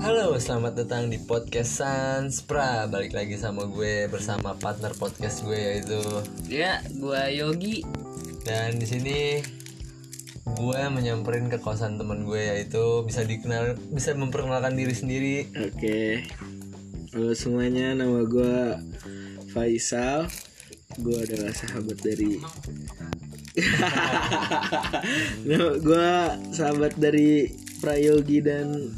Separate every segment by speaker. Speaker 1: Halo, selamat datang di podcast Sanspra. Balik lagi sama gue bersama partner podcast gue yaitu
Speaker 2: Ya, gua Yogi.
Speaker 1: dan di sini gue menyamperin ke kosan temen gue yaitu bisa dikenal bisa memperkenalkan diri sendiri.
Speaker 3: Oke. Halo semuanya, nama gua Faisal. Gua adalah sahabat dari Nama gua sahabat dari Prayogi dan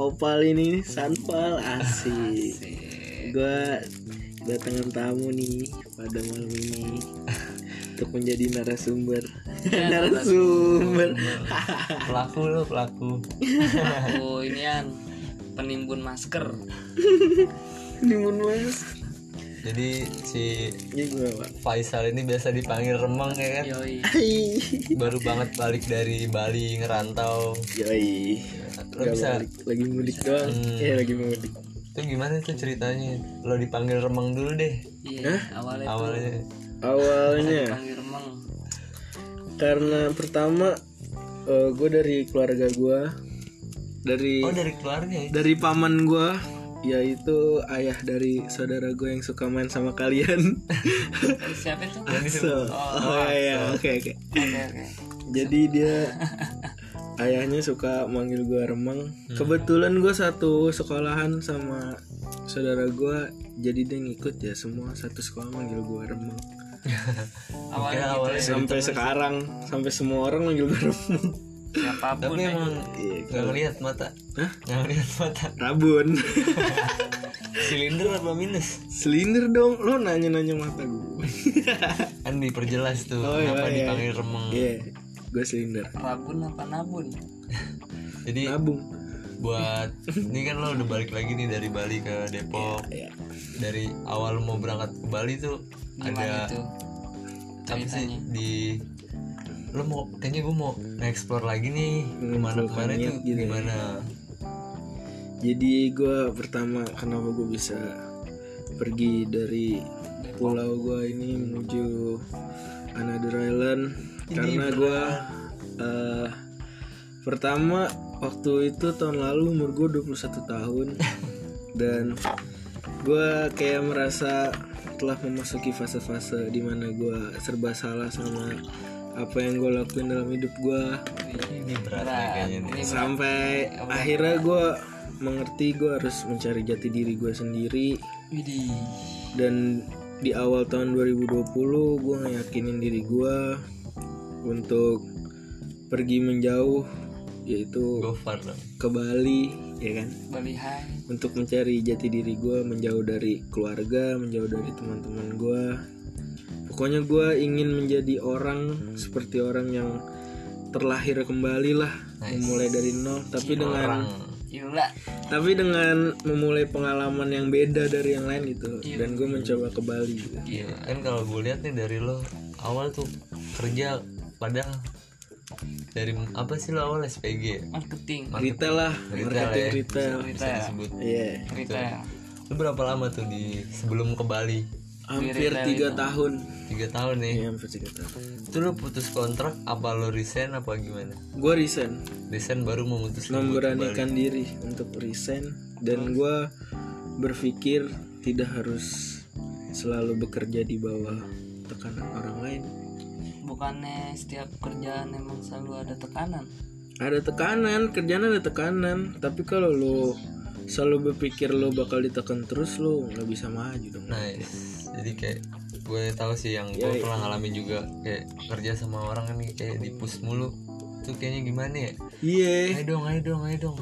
Speaker 3: Opal ini Sanpal asik. Gua kedatangan tamu nih pada malam ini untuk menjadi narasumber. Iya, narasumber.
Speaker 1: Pelaku lo pelaku.
Speaker 2: Aku ini Yan, penimbun masker.
Speaker 3: Limun Mas.
Speaker 1: Jadi si
Speaker 3: Ini gua, Pak.
Speaker 1: Faisal ini biasa dipanggil Remeng ya kan.
Speaker 2: Yoi.
Speaker 3: Hai.
Speaker 1: Baru banget balik dari Bali ngerantau.
Speaker 3: Yoi.
Speaker 1: Lo
Speaker 3: Gak
Speaker 1: bisa
Speaker 3: balik. lagi mudik doang.
Speaker 1: Hmm.
Speaker 3: Iya, lagi mudik.
Speaker 1: itu gimana tuh ceritanya? Lo dipanggil Remeng dulu deh
Speaker 2: Iya, awalnya tuh
Speaker 1: awalnya.
Speaker 3: Awalnya
Speaker 2: panggil remeng.
Speaker 3: karena pertama gue dari keluarga gue dari
Speaker 1: Oh dari keluarga ya?
Speaker 3: dari paman gue yaitu ayah dari saudara gue yang suka main sama kalian.
Speaker 2: Eh, Siapa itu?
Speaker 3: so, oh, iya, oke oke.
Speaker 2: Oke, oke.
Speaker 3: Jadi dia ayahnya suka manggil gue remeng.
Speaker 2: Hmm.
Speaker 3: Kebetulan gue satu sekolahan sama saudara gue, jadi dia ngikut ya semua satu sekolah manggil gue remeng.
Speaker 2: Awalnya
Speaker 1: Oke, awalnya.
Speaker 2: gitu ya.
Speaker 3: sampai sekarang sampai semua orang manggil gue Rabun
Speaker 2: Siapapun.
Speaker 1: Tapi
Speaker 2: ya.
Speaker 1: emang
Speaker 3: Iya,
Speaker 1: nggak ngelihat mata
Speaker 3: Hah?
Speaker 1: Nggak ngelihat mata
Speaker 3: Rabun
Speaker 1: Silinder apa minus?
Speaker 3: selinder dong lo nanya nanya mata gue
Speaker 1: Kan diperjelas tuh
Speaker 3: Oh, iya,
Speaker 1: Kenapa
Speaker 3: iya,
Speaker 1: dipanggil remeng
Speaker 3: iya gue selinder
Speaker 2: Rabun apa nabun?
Speaker 1: Jadi
Speaker 3: nabung
Speaker 1: buat Ini kan lo udah balik lagi nih dari Bali ke Depok
Speaker 3: Iya.
Speaker 1: Dari awal mau berangkat ke Bali tuh Ada
Speaker 2: Gimana itu?
Speaker 1: Apa sih
Speaker 2: Ceritanya.
Speaker 1: di Lo mau Kayaknya gue mau nge-explore lagi nih Kemana-kemana
Speaker 3: banyak
Speaker 1: tuh
Speaker 3: Hmm, gitu ya.
Speaker 1: Gimana
Speaker 3: jadi gue pertama kenapa gue bisa pergi dari pulau gue ini menuju another island karena gue eh, pertama waktu itu tahun lalu umur gue 21 tahun dan gue kayak merasa telah memasuki fase-fase dimana gue serba salah sama apa yang gue lakuin dalam hidup gue
Speaker 1: Ini berat nih
Speaker 2: Berat.
Speaker 1: kayaknya nih
Speaker 2: Ini
Speaker 3: sampai akhirnya gue mengerti gue harus mencari jati diri gue sendiri
Speaker 2: Widih.
Speaker 3: dan di awal tahun 2020 gue ngeyakinin diri gue untuk pergi menjauh yaitu
Speaker 1: Go far dong
Speaker 3: ke Bali ya kan
Speaker 2: Bali Hai.
Speaker 3: untuk mencari jati diri gue menjauh dari keluarga menjauh dari teman-teman gue pokoknya gue ingin menjadi orang seperti orang yang terlahir kembali lah memulai dari nol tapi dengan
Speaker 1: Orang
Speaker 2: Gila.
Speaker 3: tapi dengan memulai pengalaman yang beda dari yang lain gitu dan gue mencoba ke Bali
Speaker 1: Iya, kan kalau gue lihat nih dari lo awal tuh kerja padahal dari apa sih lo awal SPG ya?
Speaker 2: Marketing.
Speaker 3: retail lah
Speaker 1: ya?
Speaker 3: marketing retail
Speaker 1: bisa disebut.
Speaker 3: iya
Speaker 2: Retail.
Speaker 1: Lo berapa lama tuh di sebelum ke Bali?
Speaker 3: hampir tiga tahun
Speaker 1: Tiga tahun nih.
Speaker 3: Iya, hampir tiga tahun
Speaker 1: Itu lo putus kontrak apa lo resign apa gimana?
Speaker 3: gue resign
Speaker 1: Resign baru memutus lo buat ke Bali.
Speaker 3: memberanikan diri untuk resign dan gue berpikir tidak harus selalu bekerja di bawah tekanan orang lain
Speaker 2: Bukannya setiap kerjaan emang selalu ada tekanan?
Speaker 3: ada tekanan kerjaan ada tekanan tapi kalau lo selalu berpikir lo bakal ditekan terus lo nggak bisa maju dong
Speaker 1: Nice. Jadi kayak gue tahu sih yang gue pernah ngalamin juga kayak kerja sama orang kan kayak dipus mulu. Itu kayaknya gimana ya?
Speaker 3: iya
Speaker 1: Ayo dong, ayo dong, ayo dong.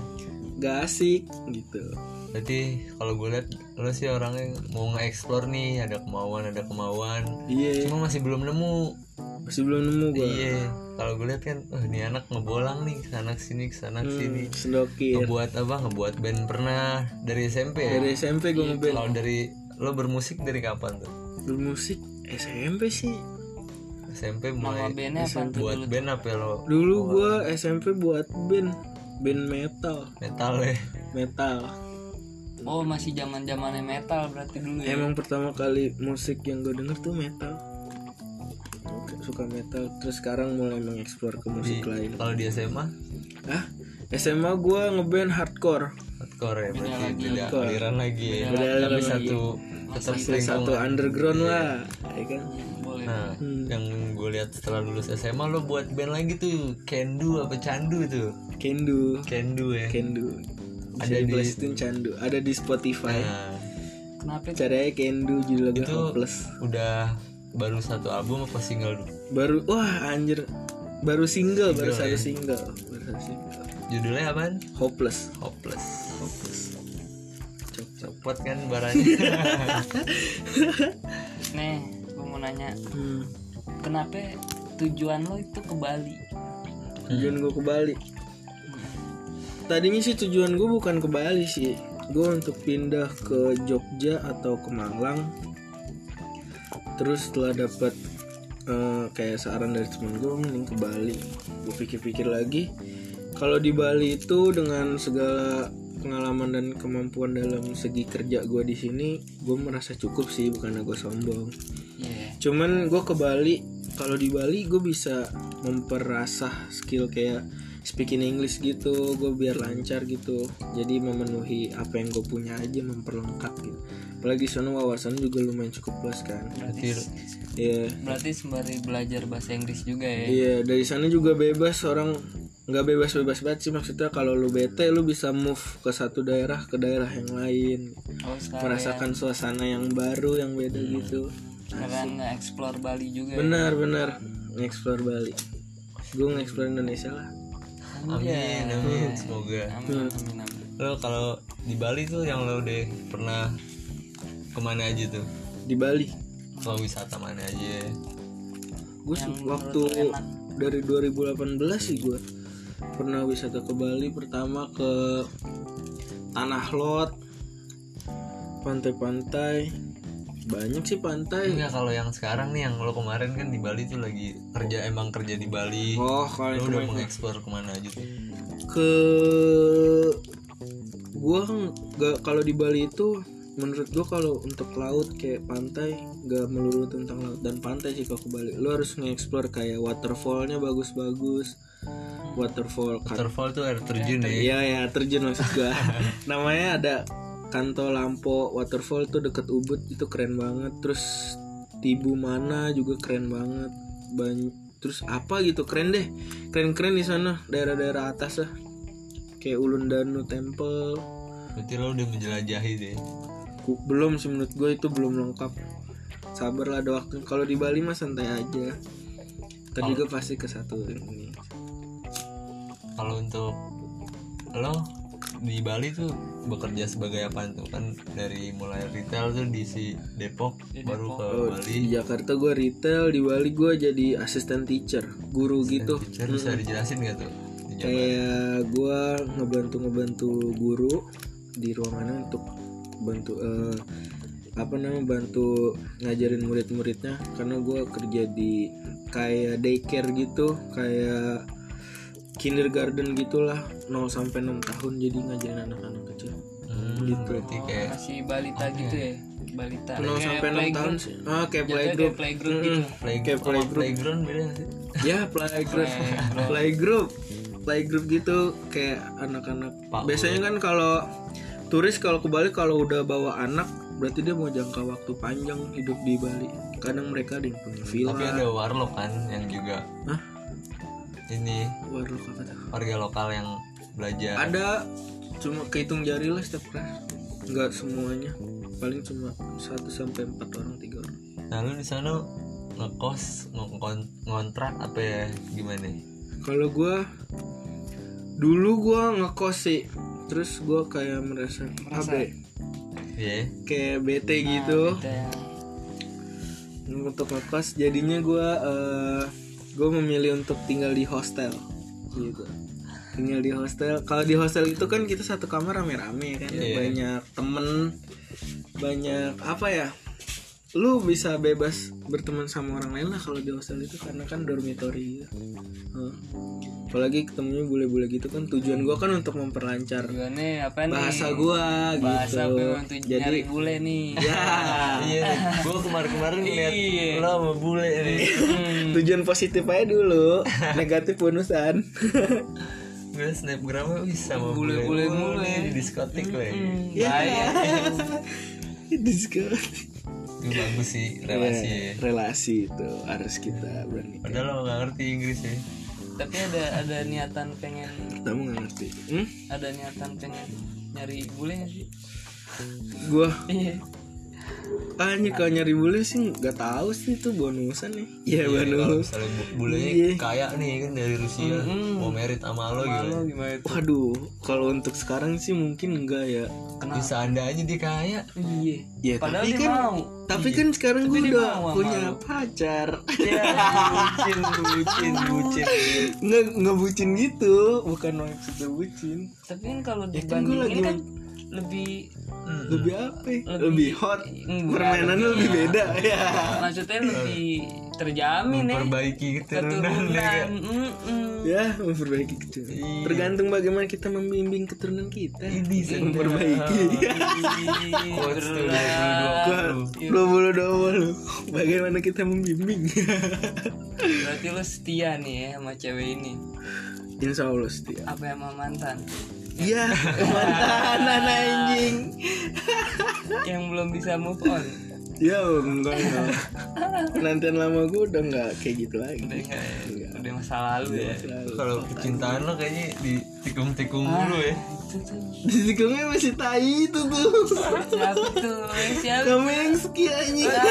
Speaker 3: gak asik gitu
Speaker 1: Berarti kalau gue lihat lo sih orangnya mau nge-explore nih, ada kemauan, ada kemauan.
Speaker 3: iya
Speaker 1: Cuma masih belum nemu.
Speaker 3: masih belum nemu gue
Speaker 1: Iya. Kalau gue lihat kan, wah ini anak ngebolang nih, kesana sini, kesana sini.
Speaker 3: sendokir
Speaker 1: Ngebuat apa? Ngebuat band pernah dari SMP ya.
Speaker 3: iya. dari SMP gue ngeband
Speaker 1: Kalau dari lo bermusik dari kapan tuh?
Speaker 3: bermusik SMP sih
Speaker 1: SMP mulai
Speaker 2: Nama bandnya apa tuh
Speaker 1: buat
Speaker 2: dulu?
Speaker 1: band apa ya lo?
Speaker 3: dulu gue SMP buat band band metal
Speaker 1: Metal ya.
Speaker 3: metal
Speaker 2: Oh masih zaman zamannya metal berarti dulu
Speaker 1: Iya,
Speaker 2: ya.
Speaker 3: emang pertama kali musik yang gue denger tuh metal
Speaker 1: Iya.
Speaker 3: Oke, suka metal iya. terus sekarang mulai mengeksplor ke musik lain
Speaker 1: Kalau di SMA
Speaker 3: ah SMA gue ngeband hardcore
Speaker 1: hardcore ya berarti
Speaker 2: lagi.
Speaker 1: tidak
Speaker 3: Hardcore.
Speaker 1: aliran lagi ya
Speaker 3: Beda
Speaker 1: tapi
Speaker 3: lagi.
Speaker 1: satu tetap
Speaker 3: Salah satu
Speaker 1: lingkungan
Speaker 3: underground lah ya kan
Speaker 2: boleh
Speaker 1: nah yang gue lihat setelah lulus SMA lo buat band lagi tuh Kendu apa Candu tuh
Speaker 3: Kendu
Speaker 1: Kendu ya
Speaker 3: Kendu
Speaker 1: Ada
Speaker 3: ada di
Speaker 1: di-
Speaker 3: itu candu ada di Spotify
Speaker 1: nah
Speaker 2: kenapa itu
Speaker 3: caranya Kendu judul lagu
Speaker 1: Itu-
Speaker 3: hopeless
Speaker 1: udah baru satu album apa single dulu?
Speaker 3: baru wah anjir baru single, baru
Speaker 1: Single,
Speaker 3: satu
Speaker 1: ya.
Speaker 3: single baru satu single
Speaker 1: judulnya apaan?
Speaker 3: hopeless
Speaker 1: Hopeless
Speaker 3: hopeless
Speaker 1: copot kan barangnya
Speaker 2: nih gue mau nanya
Speaker 3: hmm.
Speaker 2: kenapa tujuan lo itu ke Bali
Speaker 3: tujuan gue ke Bali tadinya sih tujuan gue bukan ke Bali sih gue untuk pindah ke Jogja atau ke Malang terus setelah dapat eh, kayak saran dari temen gue mending ke Bali gue pikir-pikir lagi kalau di Bali itu dengan segala pengalaman dan kemampuan dalam segi kerja gue di sini gue merasa cukup sih bukan gue sombong
Speaker 2: iya
Speaker 3: cuman gue ke Bali kalau di Bali gue bisa memperasah skill kayak speaking English gitu gue biar lancar gitu jadi memenuhi apa yang gue punya aja memperlengkap gitu apalagi sono wawasan juga lumayan cukup luas kan
Speaker 1: berarti
Speaker 3: ya
Speaker 2: berarti sembari belajar bahasa Inggris juga ya
Speaker 3: Iya dari sana juga bebas orang nggak bebas-bebas banget sih maksudnya kalau lu bete lu bisa move ke satu daerah ke daerah yang lain
Speaker 2: oh sekarang
Speaker 3: merasakan suasana yang baru yang beda gitu
Speaker 2: sekarang nggak explore Bali juga ya?
Speaker 3: benar benar nge-explore Bali gue nge-explore Indonesia lah
Speaker 1: amin amin semoga
Speaker 2: amin amin amin
Speaker 1: lo kalau di Bali tuh yang lo udah pernah kemana aja tuh
Speaker 3: di Bali
Speaker 1: lo wisata mana aja
Speaker 3: gue waktu dari 2018 sih gue pernah wisata ke Bali pertama ke Tanah Lot pantai-pantai banyak sih pantai
Speaker 1: enggak kalau yang sekarang nih yang lo kemarin kan di Bali tuh lagi kerja emang kerja di Bali
Speaker 3: oh kalau
Speaker 1: lo udah
Speaker 3: yang
Speaker 1: Kan.
Speaker 3: kemarin
Speaker 1: mengeksplor kemana aja tuh
Speaker 3: ke gua kan nggak kalau di Bali itu menurut gua kalau untuk laut kayak pantai nggak melulu tentang laut dan pantai sih kalau ke Bali lo harus nge-explore kayak waterfallnya bagus-bagus waterfall kan
Speaker 1: waterfall tuh air terjun ya
Speaker 3: iya ya terjun maksud gua namanya ada Kanto Lampo waterfall tuh deket Ubud itu keren banget terus Tibu Mana juga keren banget Bany- terus apa gitu keren deh keren-keren di sana daerah-daerah atas lah kayak Ulun Danu Temple
Speaker 1: berarti lo udah menjelajahi deh
Speaker 3: Ku- belum sih menurut gue itu belum lengkap sabar lah ada waktu kalau di Bali mah santai aja tadi juga pasti ke satu ini
Speaker 1: kalau untuk lo di Bali tuh bekerja sebagai apa tuh kan dari mulai retail tuh di si Depok Oh, iya. baru ke Bali
Speaker 3: di Jakarta gue retail di Bali gue jadi asisten teacher guru gitu
Speaker 1: teacher bisa dijelasin gak tuh Dijabar.
Speaker 3: kayak gue ngebantu ngebantu guru di ruangannya untuk bantu eh, apa namanya bantu ngajarin murid-muridnya karena gue kerja di kayak daycare gitu kayak kindergarten gitulah 0 sampai 6 tahun jadi ngajarin anak-anak kecil
Speaker 1: Hmm, berarti kayak
Speaker 2: masih balita gitu ya balita
Speaker 3: 0 sampai 6 tahun sih ah kayak
Speaker 2: kayak
Speaker 3: playgroup
Speaker 2: playgroup gitu
Speaker 1: play,
Speaker 3: kayak
Speaker 1: sama playground beda gak sih
Speaker 3: ya playgroup playgroup playgroup gitu kayak anak-anak
Speaker 1: Pak
Speaker 3: biasanya kan kalau turis kalau ke Bali kalau udah bawa anak berarti dia mau jangka waktu panjang hidup di Bali kadang mereka ada yang punya villa
Speaker 1: tapi ada warlock kan yang juga
Speaker 3: Hah?
Speaker 1: ini
Speaker 3: warlock apa tuh?
Speaker 1: warga lokal yang
Speaker 3: Ya.
Speaker 1: belajar
Speaker 3: ada cuma kehitung jari lah setiap kelas nggak semuanya paling cuma 1 sampai empat orang tiga orang
Speaker 1: nah lu di sana ngekos ngekon- ngontrak apa ya gimana
Speaker 3: Kalau gua dulu gua ngekos sih, terus gua kayak merasa apa? ya,
Speaker 2: Iya.
Speaker 1: ya
Speaker 3: Kayak bete gitu
Speaker 2: Kita yang
Speaker 3: untuk ngekos. Jadinya gua eh, gua memilih untuk tinggal di hostel gitu. Tinggal di hostel. Kalau di hostel itu kan kita satu kamar rame-rame kan,
Speaker 1: Iya.
Speaker 3: banyak temen, banyak apa ya? lu bisa bebas berteman sama orang lain lah kalau di hostel itu karena kan dormitory gitu. Heeh. apalagi ketemunya bule-bule gitu kan tujuan gua kan untuk memperlancar
Speaker 2: tujuannya apa nih
Speaker 3: bahasa gua gitu
Speaker 2: Iya. bahasa memang tuh nyari bule nih
Speaker 3: ya
Speaker 1: iya gue kemarin-kemarin ngeliat
Speaker 2: Iya.
Speaker 1: lo sama bule nih
Speaker 2: Hmm.
Speaker 3: tujuan positif aja dulu negatif bonusan
Speaker 1: gue snapgramnya wih sama
Speaker 2: Bule-bule mulu.
Speaker 1: di
Speaker 2: ya.
Speaker 1: diskotik ya. lah
Speaker 2: Iya.
Speaker 3: diskotik
Speaker 1: itu bagus sih
Speaker 2: Iya,
Speaker 1: relasi ya.
Speaker 3: Ya, relasi itu harus kita berani
Speaker 1: padahal lo gak ngerti Inggris
Speaker 2: Iya,
Speaker 1: ya
Speaker 2: Tapi ada ada niatan pengen
Speaker 3: kamu nggak ngerti hmm?
Speaker 2: ada niatan pengen nyari bule nggak sih?
Speaker 3: gue
Speaker 2: Iya.
Speaker 3: hanya ah, kalau nyari bule sih nggak tahu sih itu bonusan nih
Speaker 2: Iya,
Speaker 3: ya
Speaker 1: kalau
Speaker 3: bonus
Speaker 1: misalnya bu- bulenya
Speaker 3: Iya.
Speaker 1: kaya nih kan dari Rusia mau merit sama lo gitu
Speaker 2: Lo gimana tuh?
Speaker 3: waduh kalau untuk sekarang sih mungkin enggak ya
Speaker 2: Kenapa?
Speaker 1: bisa anda aja dia kaya
Speaker 2: Iya.
Speaker 3: ya
Speaker 2: Padahal
Speaker 3: tapi
Speaker 2: dia
Speaker 3: kan
Speaker 2: mau. Iya.
Speaker 3: tapi kan sekarang
Speaker 2: Tapi
Speaker 3: gue
Speaker 2: dia
Speaker 3: udah
Speaker 2: mau sama
Speaker 3: punya
Speaker 2: lu.
Speaker 3: pacar
Speaker 2: Iya, bucin, bucin, bucin.
Speaker 3: nggak nggak bucin gitu bukan maksudnya bucin
Speaker 2: Tapi kan kalau
Speaker 3: Ya kan
Speaker 2: dibandingin
Speaker 3: gua lagi-
Speaker 2: kan lebih
Speaker 3: lebih apa ya?
Speaker 2: Lebih-
Speaker 3: lebih, hot
Speaker 2: Enggak,
Speaker 3: permainannya
Speaker 2: lebih-
Speaker 3: lebih beda ya
Speaker 2: maksudnya lebih terjamin ya.
Speaker 1: memperbaiki keturunan ya
Speaker 2: Keturunan.
Speaker 1: kan?
Speaker 2: Mm-mm.
Speaker 3: ya memperbaiki gitu
Speaker 1: Iya.
Speaker 3: tergantung bagaimana kita membimbing keturunan kita
Speaker 2: Iya.
Speaker 1: Ini sedap.
Speaker 3: memperbaiki Iya,
Speaker 2: Ih,
Speaker 1: Quotes tuh gitu.
Speaker 2: berat.
Speaker 1: 2022.
Speaker 3: Gua
Speaker 2: Iya.
Speaker 3: lu bulu doa lu bagaimana kita membimbing
Speaker 2: Berarti lo setia nih ya sama cewek ini.
Speaker 3: insya allah setia
Speaker 2: Apa yang sama mantan?
Speaker 3: ya mantanan anjing
Speaker 2: Yang belum bisa move on.
Speaker 3: ya enggak enggak penantian lama gue udah nggak kayak gitu lagi Enggak.
Speaker 2: Udah masa lalu ya.
Speaker 1: Iya. kalau kecintaan lo kayaknya di tikung-tikung
Speaker 2: Ah.
Speaker 1: dulu ya
Speaker 2: Itu tuh.
Speaker 3: di tikungnya masih tai itu tuh
Speaker 2: Siapa tuh? eh, Siapa?
Speaker 3: kamu yang sekian anjing
Speaker 2: Ah,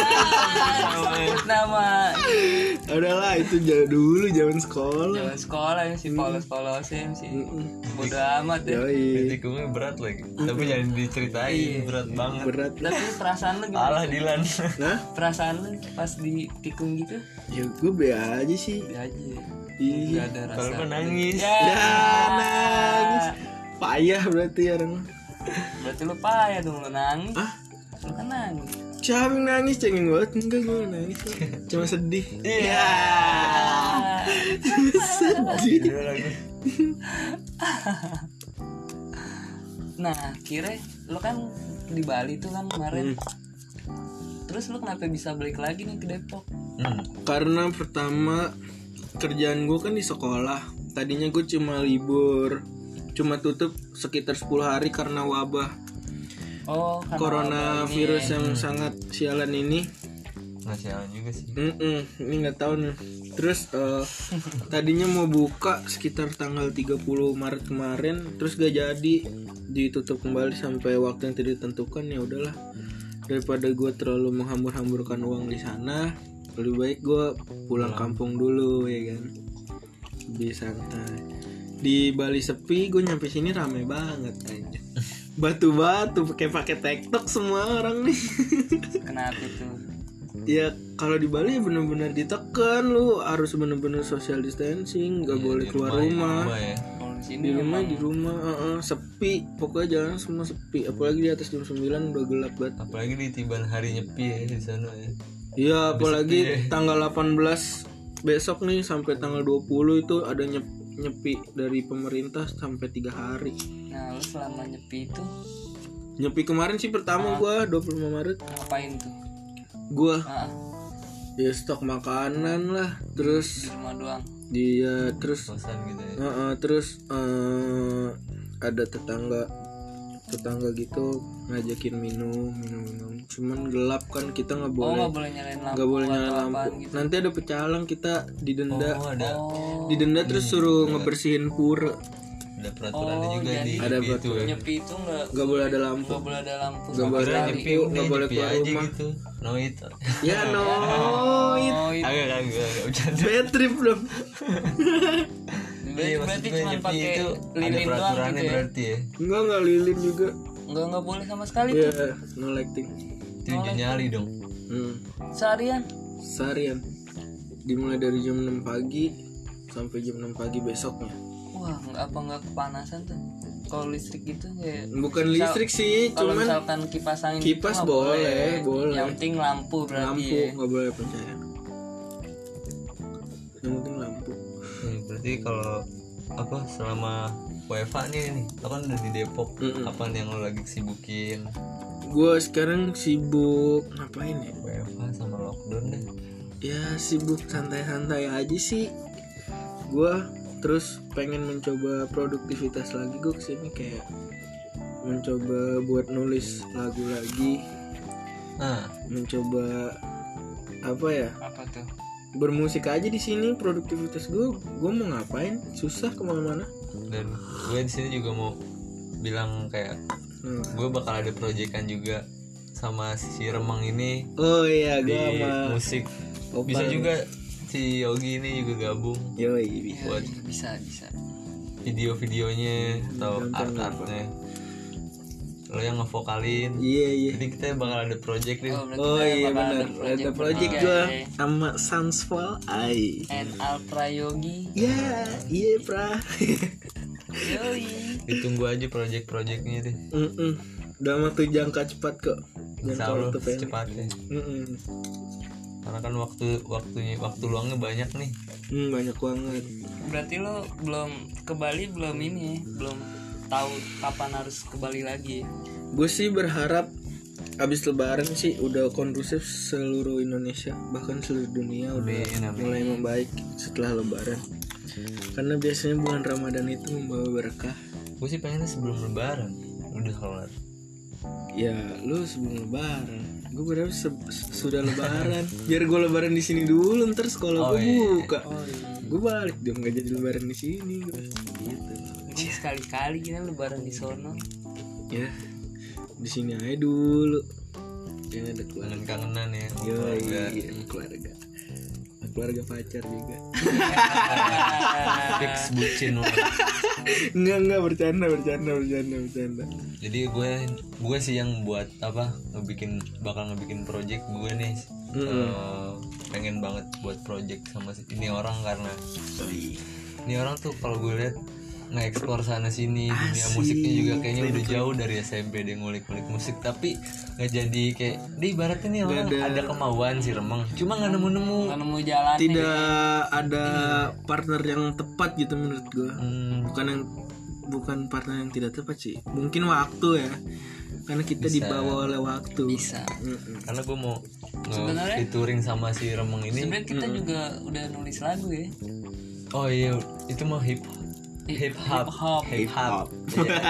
Speaker 2: Sebut nama
Speaker 3: udahlah itu jauh dulu zaman sekolah
Speaker 2: Jangan sekolah ya sih polos-polosin sih
Speaker 3: Mm-mm.
Speaker 2: Bodo amat ya
Speaker 1: di
Speaker 3: yoi
Speaker 1: tikungnya berat lagi tapi
Speaker 2: Iya.
Speaker 1: jangan diceritain berat banget
Speaker 3: berat lah
Speaker 2: Tapi perasaan lu gimana?
Speaker 1: alah Dilan
Speaker 3: nah
Speaker 2: Perasaan lu pas ditikung gitu
Speaker 3: ya gue be aja sih
Speaker 2: Ya aja ya.
Speaker 3: iya
Speaker 2: Gak ada
Speaker 1: kalau
Speaker 2: rasa
Speaker 1: lo nangis
Speaker 2: Ya
Speaker 3: ya nangis payah berarti orang
Speaker 2: Berarti lu payah dong lu nangis
Speaker 3: ah
Speaker 2: Lu kan nangis
Speaker 3: siapa yang nangis cengeng banget enggak gue nggak nangis cuma sedih
Speaker 1: iya
Speaker 2: Ah,
Speaker 3: sedih
Speaker 1: Gitu lagi.
Speaker 2: Nah akhirnya lu kan di Bali tuh kan kemarin Terus lu kenapa bisa balik lagi nih ke Depok?
Speaker 1: Hmm.
Speaker 3: karena pertama kerjaan gue kan di sekolah tadinya gue cuma libur cuma tutup sekitar 10 hari karena wabah
Speaker 2: Oh karena
Speaker 3: coronavirus yang sangat sialan ini
Speaker 1: Nah, sialan juga sih
Speaker 3: Mm-mm, ini nggak tahu nih terus eh, tadinya mau buka sekitar tanggal 30 Maret kemarin terus gak jadi ditutup kembali sampai waktu yang tidak ditentukan ya udahlah daripada gue terlalu menghambur-hamburkan uang di sana lebih baik gue pulang kampung dulu ya kan di santai di Bali sepi gue nyampe sini rame banget aja batu-batu pakai pakai tektok semua orang nih
Speaker 2: Kenapa tuh?
Speaker 3: Ya kalau di Bali bener-bener ditekan lu harus bener-bener social distancing gak boleh keluar rumah,
Speaker 1: Rumah ya
Speaker 2: Kalau di sini
Speaker 3: di rumah di rumah eh, eh, sepi pokoknya jalan semua sepi apalagi di atas jam 9 udah gelap banget
Speaker 1: apalagi di tiban hari nyepi ya di sana ya
Speaker 3: Iya apalagi tanggal 18 besok nih sampai tanggal 20 itu ada nyep- nyepi dari pemerintah sampai tiga hari
Speaker 2: Nah lu selama nyepi itu
Speaker 3: nyepi kemarin sih pertama gua 25 Maret
Speaker 2: ngapain tuh?
Speaker 3: gua
Speaker 2: Ah,
Speaker 3: ya stok makanan lah
Speaker 2: di
Speaker 3: terus
Speaker 2: rumah doang.
Speaker 3: dia terus
Speaker 1: kosan gitu ya
Speaker 3: Heeh, terus eh, ada tetangga tetangga gitu ngajakin minum minum minum cuman gelap kan kita nggak
Speaker 2: Oh
Speaker 3: boleh
Speaker 2: nggak boleh nyalain lampu.
Speaker 3: nggak boleh
Speaker 2: atau
Speaker 3: nyala
Speaker 2: apaan
Speaker 3: lampu
Speaker 2: Gitu.
Speaker 3: nanti ada pecalang kita didenda
Speaker 1: oh ada
Speaker 2: Oh,
Speaker 3: didenda terus suruh ngebersihin pura
Speaker 1: ada peraturannya
Speaker 2: Oh,
Speaker 1: juga
Speaker 2: jadi-
Speaker 1: di
Speaker 3: Ada
Speaker 1: nyepi itu ya
Speaker 2: nyepi itu nggak
Speaker 3: nggak boleh ada lampu
Speaker 2: nggak boleh ada lampu.
Speaker 3: nggak
Speaker 2: sama
Speaker 3: boleh ada
Speaker 2: sekali.
Speaker 1: nyepi
Speaker 3: Nggak
Speaker 1: udah
Speaker 3: boleh
Speaker 1: nyepi
Speaker 3: keluar
Speaker 1: aja
Speaker 3: rumah.
Speaker 1: gitu no it
Speaker 3: ya no it
Speaker 2: Oh, itu.
Speaker 1: agak agak agak bercanda
Speaker 3: bad trip dong
Speaker 2: Berarti,
Speaker 1: Iya, maksud
Speaker 2: berarti
Speaker 1: gue
Speaker 2: cuma
Speaker 1: nyepi
Speaker 2: pakai
Speaker 1: itu ada
Speaker 2: lilin doang
Speaker 1: peraturannya
Speaker 2: gitu ya.
Speaker 1: berarti ya
Speaker 3: nggak nggak lilin juga
Speaker 2: Nggak nggak boleh sama sekali
Speaker 3: ya
Speaker 2: tuh.
Speaker 3: no lighting
Speaker 1: itu udah
Speaker 2: Oh.
Speaker 1: nyali dong
Speaker 3: hmm.
Speaker 2: Seharian.
Speaker 3: seharian dimulai dari jam 6 pagi sampai jam 6 pagi besoknya
Speaker 2: Wah, nggak apa nggak kepanasan tuh? Kalau listrik gitu kayak
Speaker 3: bukan listrik sih
Speaker 2: kalau
Speaker 3: cuman
Speaker 2: misalkan kipas angin gitu
Speaker 3: Kipas
Speaker 2: nggak ya. Iya.
Speaker 3: boleh, boleh.
Speaker 2: Yang penting lampu berarti.
Speaker 3: lampu
Speaker 2: ya.
Speaker 3: nggak boleh percaya yang penting lampu
Speaker 1: Hmm, berarti kalau apa selama WFA nih nih lo kan udah di Depok apa nih yang lo lagi sibukin
Speaker 3: gue sekarang sibuk ngapain ya
Speaker 1: WFA sama lockdown deh
Speaker 3: ya sibuk santai-santai aja sih gue terus pengen mencoba produktivitas lagi gue kesini kayak mencoba buat nulis lagu lagi
Speaker 1: nah
Speaker 3: Ah. mencoba apa ya
Speaker 2: apa tuh
Speaker 3: bermusik aja di sini produktivitas gue gue mau ngapain susah kemana-mana
Speaker 1: dan gue di sini juga mau bilang kayak
Speaker 3: nah.
Speaker 1: gue bakal ada proyekan juga sama si Remang ini
Speaker 3: oh iya
Speaker 1: di
Speaker 3: gue sama
Speaker 1: musik
Speaker 3: Opal.
Speaker 1: bisa juga si Yogi ini juga gabung
Speaker 3: yoi
Speaker 2: Iya,
Speaker 3: bisa.
Speaker 1: Buat-
Speaker 2: iya, bisa bisa
Speaker 1: video-videonya atau
Speaker 3: Gampang,
Speaker 1: art-artnya lo yang ngevokalin
Speaker 3: iya iya
Speaker 1: jadi kita bakal ada project nih
Speaker 2: oh, berarti
Speaker 3: oh
Speaker 2: kita
Speaker 3: iya
Speaker 2: bakal
Speaker 3: benar ada project
Speaker 2: bertiga,
Speaker 3: gue
Speaker 2: ya.
Speaker 3: sama Sansval ai
Speaker 2: and Ultra Yogi
Speaker 3: ya iya pra
Speaker 2: Yoi
Speaker 1: ditunggu aja project-projectnya deh
Speaker 3: Mm-mm. udah mah tuh jangka cepat kok
Speaker 1: insya
Speaker 3: jangka
Speaker 1: Allah
Speaker 3: waktu pendek
Speaker 1: secepatnya
Speaker 3: Mm-mm.
Speaker 1: karena kan waktu waktunya waktu luangnya banyak nih
Speaker 3: Hmm, banyak banget
Speaker 2: berarti lo belum ke Bali belum ini ya, belum tahu kapan harus ke Bali lagi
Speaker 3: gue sih berharap abis lebaran sih udah kondusif seluruh Indonesia bahkan seluruh dunia udah
Speaker 1: Amin, amin.
Speaker 3: mulai membaik setelah lebaran karena biasanya bulan Ramadan itu membawa berkah
Speaker 1: gue sih pengennya sebelum lebaran udah kelar
Speaker 3: ya lu sebelum lebaran gue berharap se- sudah lebaran biar gue lebaran di sini dulu ntar
Speaker 1: Oh,
Speaker 3: sekolah gue
Speaker 1: iya.
Speaker 3: buka gue balik dong gak jadi lebaran di sini gua. gitu
Speaker 2: Mungkin sekali-kali kita lebaran di sono
Speaker 3: ya di sini aja dulu jangan ada keluarga
Speaker 1: kangen kangenan ya sama
Speaker 3: Yo,
Speaker 1: keluarga.
Speaker 3: iya, sama keluarga Sama keluarga pacar juga
Speaker 1: fix bucin lo
Speaker 3: enggak enggak bercanda bercanda bercanda bercanda
Speaker 1: jadi gue gue sih yang buat apa ngebikin bakal ngebikin project gue nih Eh, pengen banget buat project sama si- ini orang karena ini orang tuh kalau gue lihat nge-explore sana sini dunia musiknya juga kayaknya udah jauh dari SMP dia ngulik-ngulik musik tapi nggak jadi kayak dia ibaratnya nih orang ada kemauan sih remeng cuma nggak nemu-nemu
Speaker 2: nggak nemu jalan
Speaker 3: tidak ada partner yang tepat gitu menurut gue
Speaker 1: Hmm,
Speaker 3: bukan yang bukan partner yang tidak tepat sih mungkin waktu ya karena kita dibawa oleh waktu
Speaker 2: bisa
Speaker 3: Mm-mm.
Speaker 1: karena gue mau
Speaker 2: Sebenarnya-
Speaker 1: nge-featuring sama si remeng ini
Speaker 2: sebenarnya kita juga udah nulis lagu ya
Speaker 1: Oh iya, itu mah hip hip hop,
Speaker 2: hop.
Speaker 1: hip hop. Iya.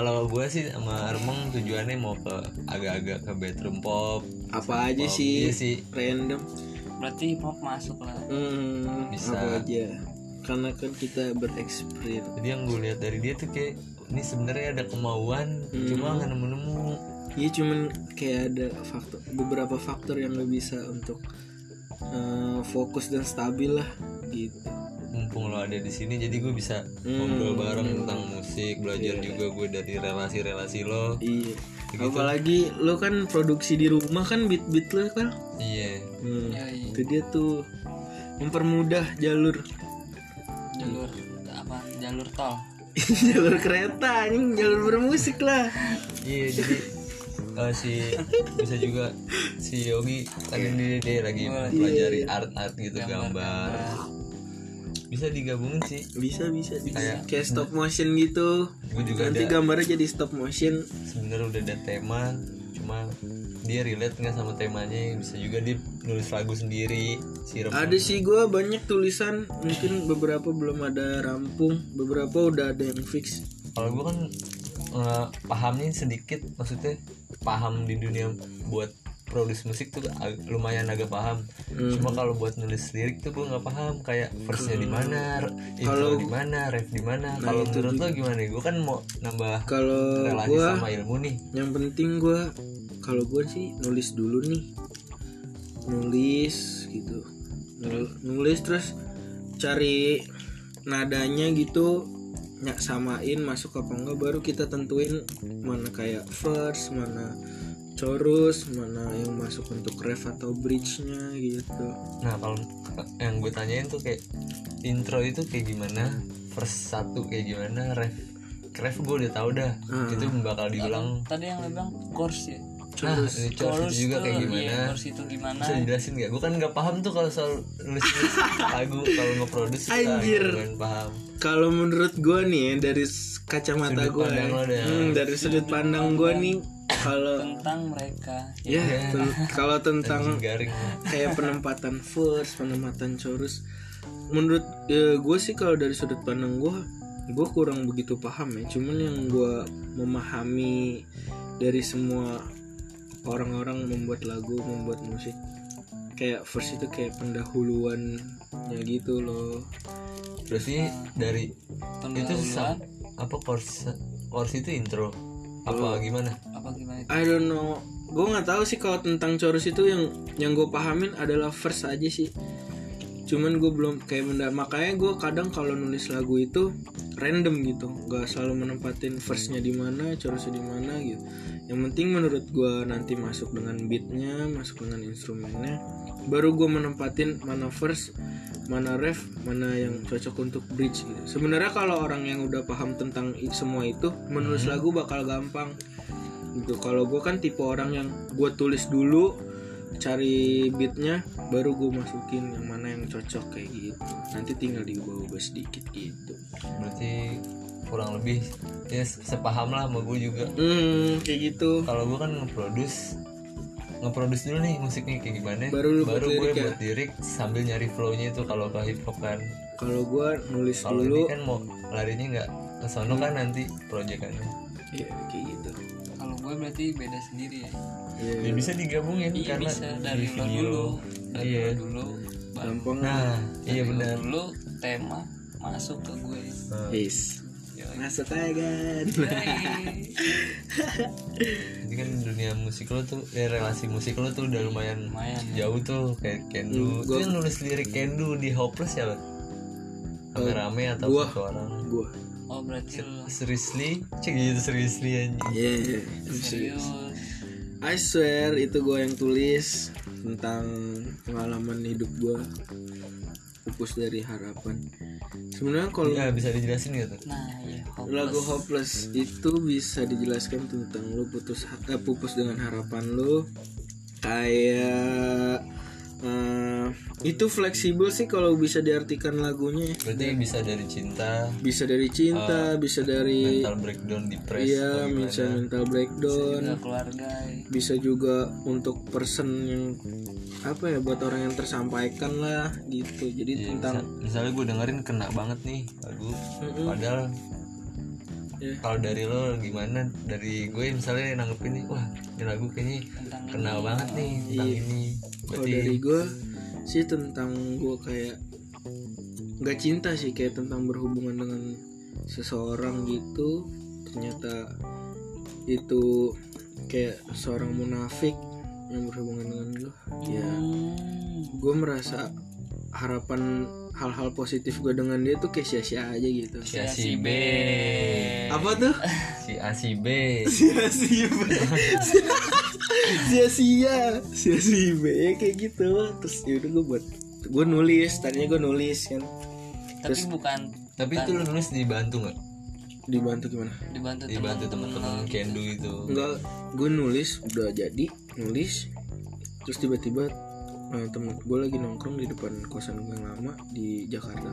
Speaker 1: Kalau gue sih sama Remeng tujuannya mau ke agak-agak ke bedroom pop.
Speaker 3: apa aja
Speaker 1: Pop.
Speaker 3: sih
Speaker 1: Iya sih.
Speaker 3: random
Speaker 2: berarti hip hop masuk lah
Speaker 3: Hmm,
Speaker 1: Bisa.
Speaker 3: apa aja karena kan kita bereksperimen
Speaker 1: Jadi yang gue lihat dari dia tuh kayak ini sebenarnya ada kemauan, cuma nggak nemu-nemu.
Speaker 3: Iya cuman kayak ada faktor beberapa faktor yang nggak bisa untuk eh, fokus dan stabil lah gitu.
Speaker 1: Mumpung lo ada di sini, jadi gue bisa ngobrol bareng tentang musik, belajar juga gue dari relasi-relasi lo.
Speaker 3: Iya.
Speaker 1: gitu.
Speaker 3: Apalagi lo kan produksi di rumah kan beat-beat lo kan.
Speaker 1: Iya.
Speaker 3: Hmm,
Speaker 2: Yoi.
Speaker 3: Itu dia tuh mempermudah jalur
Speaker 2: jalur apa jalur tol
Speaker 3: jalur kereta anjing jalur bermusik lah.
Speaker 1: Iya, jadi eh, si bisa juga si Yogi kan dia, dia lagi mempelajari art-art gitu gambar. Bisa digabungin sih.
Speaker 3: Bisa bisa bisa.
Speaker 1: Kayak-
Speaker 3: Kayak stop motion gitu.
Speaker 1: Gue juga
Speaker 3: Nanti
Speaker 1: ada
Speaker 3: gambarnya jadi stop motion.
Speaker 1: sebenarnya udah ada tema, cuma dia relate nggak sama temanya. Bisa juga dia nulis lagu sendiri. Si Rem-
Speaker 3: Ada sih gue banyak tulisan mungkin beberapa belum ada rampung, beberapa udah ada yang fix.
Speaker 1: Kalau gue kan eh, pahamnya sedikit, maksudnya paham di dunia buat produce musik tuh ag- lumayan agak paham.
Speaker 3: Hmm.
Speaker 1: Cuma kalau buat nulis lirik tuh gue nggak paham kayak verse-nya di
Speaker 3: Hmm.
Speaker 1: mana, re- intro di mana, ref di mana. Kalau menurut lo gimana? Gue kan mau nambah
Speaker 3: Nah, Kalau
Speaker 1: relasi
Speaker 3: gue
Speaker 1: sama ilmu nih.
Speaker 3: yang penting gue kalau gue sih nulis dulu nih nulis gitu Nul- nulis terus cari nadanya gitu nyak samain masuk apa enggak baru kita tentuin mana kayak verse mana chorus mana yang masuk untuk ref atau bridge-nya gitu
Speaker 1: Nah kalau yang gue tanyain tuh kayak intro itu kayak gimana,
Speaker 2: Hmm.
Speaker 1: verse satu kayak gimana, ref ref gue udah tahu dah.
Speaker 2: Hmm.
Speaker 1: Itu bakal diulang.
Speaker 2: tadi yang lo bilang course ya
Speaker 1: Nah, ini chorus itu juga
Speaker 2: tuh,
Speaker 1: kayak gimana?
Speaker 2: iya, course itu gimana
Speaker 1: bisa dijelasin nggak? Gue kan nggak paham tuh kalau soal nulis lagu kalau nge-produce kita
Speaker 3: Anjir.
Speaker 1: gitu kan paham.
Speaker 3: kalau menurut gue nih ya, dari s- kacamata
Speaker 1: Sudut
Speaker 3: gue
Speaker 1: pandang lo deh.
Speaker 3: dari sudut pandang gue nih kalau
Speaker 2: tentang mereka
Speaker 3: ya
Speaker 1: Iya.
Speaker 3: ten- kalau tentang
Speaker 1: Garing.
Speaker 3: kayak penempatan verse, penempatan chorus menurut gue sih kalau dari sudut pandang gue gue kurang begitu paham ya cuman yang gue memahami dari semua orang-orang membuat lagu membuat musik kayak first itu kayak pendahuluannya gitu loh
Speaker 1: Berarti dari itu sa-
Speaker 2: pendahuluan
Speaker 1: apa course course itu intro
Speaker 2: Hmm.
Speaker 1: apa gimana?
Speaker 2: apa gimana itu?
Speaker 3: I don't know gue nggak tahu sih kalau tentang chorus itu yang yang gue pahamin adalah verse aja sih cuman gue belum kayak benda makanya gue kadang kalau nulis lagu itu random gitu nggak selalu menempatin verse nya di mana chorusnya di mana gitu yang penting menurut gue nanti masuk dengan beatnya masuk dengan instrumennya baru gue menempatin mana verse mana ref mana yang cocok untuk bridge gitu sebenarnya kalau orang yang udah paham tentang i- semua itu menulis lagu bakal gampang gitu kalau gue kan tipe orang yang gue tulis dulu cari beatnya baru gue masukin yang mana yang cocok kayak gitu nanti tinggal diubah-ubah sedikit gitu
Speaker 1: Berarti kurang lebih ya se- sepaham lah sama gue juga.
Speaker 3: hmm kayak gitu
Speaker 1: Kalau gue kan nge-produce nge-produce dulu nih musiknya kayak gimana
Speaker 3: Baru lu buat
Speaker 1: gue
Speaker 3: lirik ya?
Speaker 1: buat lirik sambil nyari flow-nya itu kalau ke hip hop kan
Speaker 3: kalau gue nulis
Speaker 1: kalau
Speaker 3: dulu
Speaker 1: ini kan mau larinya nggak ke sono kan nanti proyekannya
Speaker 3: ya kayak gitu
Speaker 2: kalau gue berarti beda sendiri ya
Speaker 1: ya,
Speaker 3: Iya,
Speaker 1: bisa digabungin
Speaker 2: iya
Speaker 1: karena
Speaker 2: bisa dari
Speaker 1: di
Speaker 2: lo
Speaker 1: video.
Speaker 2: dulu dari
Speaker 1: iya
Speaker 2: lo dulu baru
Speaker 3: gampang
Speaker 1: nah iya
Speaker 2: dari lo
Speaker 1: benar
Speaker 2: dulu tema masuk ke ya. gue
Speaker 3: Peace.
Speaker 2: Yoi.
Speaker 3: masuk aja kan
Speaker 1: Jadi kan dunia musik lo tuh ya relasi musik lo tuh udah lumayan
Speaker 2: Lumayan, ya.
Speaker 1: jauh tuh kayak
Speaker 3: Hmm,
Speaker 1: Kendu. Itu yang nulis lirik Kendu di Hopeless ya, Bang? Rame-rame atau
Speaker 3: Eh, gua.
Speaker 1: satu orang?
Speaker 3: gue
Speaker 2: oh berarti lo
Speaker 1: Seriously? Cek gitu seriously anjing.
Speaker 3: yeah
Speaker 2: serius
Speaker 3: I swear itu gue yang tulis tentang pengalaman hidup gue pupus dari harapan sebenarnya kalau
Speaker 1: Nah, bisa dijelasin gitu.
Speaker 2: nah ya
Speaker 3: Lagu Hopeless itu bisa dijelaskan tentang lu putus eh, pupus dengan harapan lu kayak eh, itu fleksibel sih kalau bisa diartikan lagunya ya.
Speaker 1: Berarti bisa dari cinta,
Speaker 3: bisa dari cinta bisa dari
Speaker 1: mental breakdown, depresi.
Speaker 3: iya bisa mental breakdown
Speaker 2: Ke keluarga ya.
Speaker 3: bisa juga untuk person yang apa ya buat orang yang tersampaikan lah gitu
Speaker 1: Iya,
Speaker 3: jadi tentang
Speaker 1: Misalnya gue dengerin kena banget nih lagu. Padahal
Speaker 3: Iya.
Speaker 1: kalau dari lo gimana? Dari gue misalnya nanggepin nih, wah ini lagu kayaknya kena banget nih tentang ini.
Speaker 3: Iya. Kalau
Speaker 1: Berarti
Speaker 3: dari gue sih tentang gue kayak nggak cinta sih kayak tentang berhubungan dengan seseorang gitu ternyata itu kayak seorang munafik yang berhubungan dengan gue
Speaker 1: Iya.
Speaker 3: ya
Speaker 2: Hmm.
Speaker 3: gue merasa harapan hal-hal positif gue dengan dia tuh kayak sia-sia aja gitu
Speaker 1: Ya, si A
Speaker 2: Iya,
Speaker 1: si B,
Speaker 3: apa tuh
Speaker 1: si A si B.
Speaker 3: sia-sia sia-sia sia-sia ya kayak gitu terus yaudah gue buat gue nulis tadinya gue nulis kan
Speaker 2: tapi bukan
Speaker 1: Tapi itu lo nulis dibantu nggak?
Speaker 3: dibantu gimana
Speaker 2: dibantu teman
Speaker 1: Dibantu teman-teman Kendu itu.
Speaker 3: enggak gue nulis udah jadi nulis terus tiba-tiba eh, temen gue lagi nongkrong di depan kosan gue yang lama di Jakarta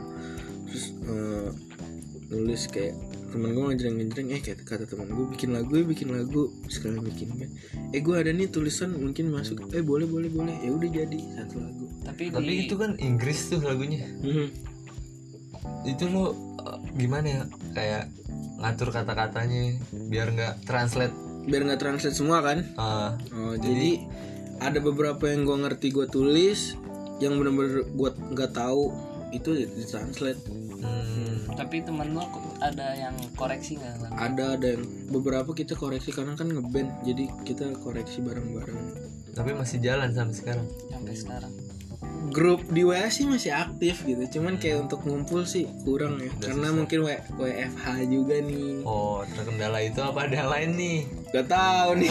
Speaker 3: terus eh, nulis kayak temen gue ngejreng-ngejreng eh kayak kata temen gue bikin lagu ya bikin lagu sekalian bikin band eh gue ada nih tulisan mungkin masuk eh boleh boleh boleh ya udah jadi satu lagu
Speaker 2: tapi,
Speaker 1: Tapi
Speaker 2: di-
Speaker 1: itu kan Inggris tuh lagunya.
Speaker 3: Mhm.
Speaker 1: itu lo uh, gimana ya kayak ngatur kata-katanya biar nggak translate
Speaker 3: biar nggak translate semua kan
Speaker 1: uh,
Speaker 3: Oh, jadi, ada beberapa yang gue ngerti gue tulis, yang bener-bener gue nggak tahu itu di translate.
Speaker 1: hmm,
Speaker 2: tapi teman lo kok ada yang koreksi nggak Lan?
Speaker 3: Ada dan beberapa kita koreksi karena kan ngeband, jadi kita koreksi bareng-bareng.
Speaker 1: tapi masih jalan sampai sekarang
Speaker 2: sampai sekarang
Speaker 3: Grup di WA sih masih aktif gitu, cuman kayak untuk ngumpul sih kurang ya, karena mungkin W WFH juga nih.
Speaker 1: oh terkendala itu apa ada lain nih
Speaker 3: Gak tahu nih,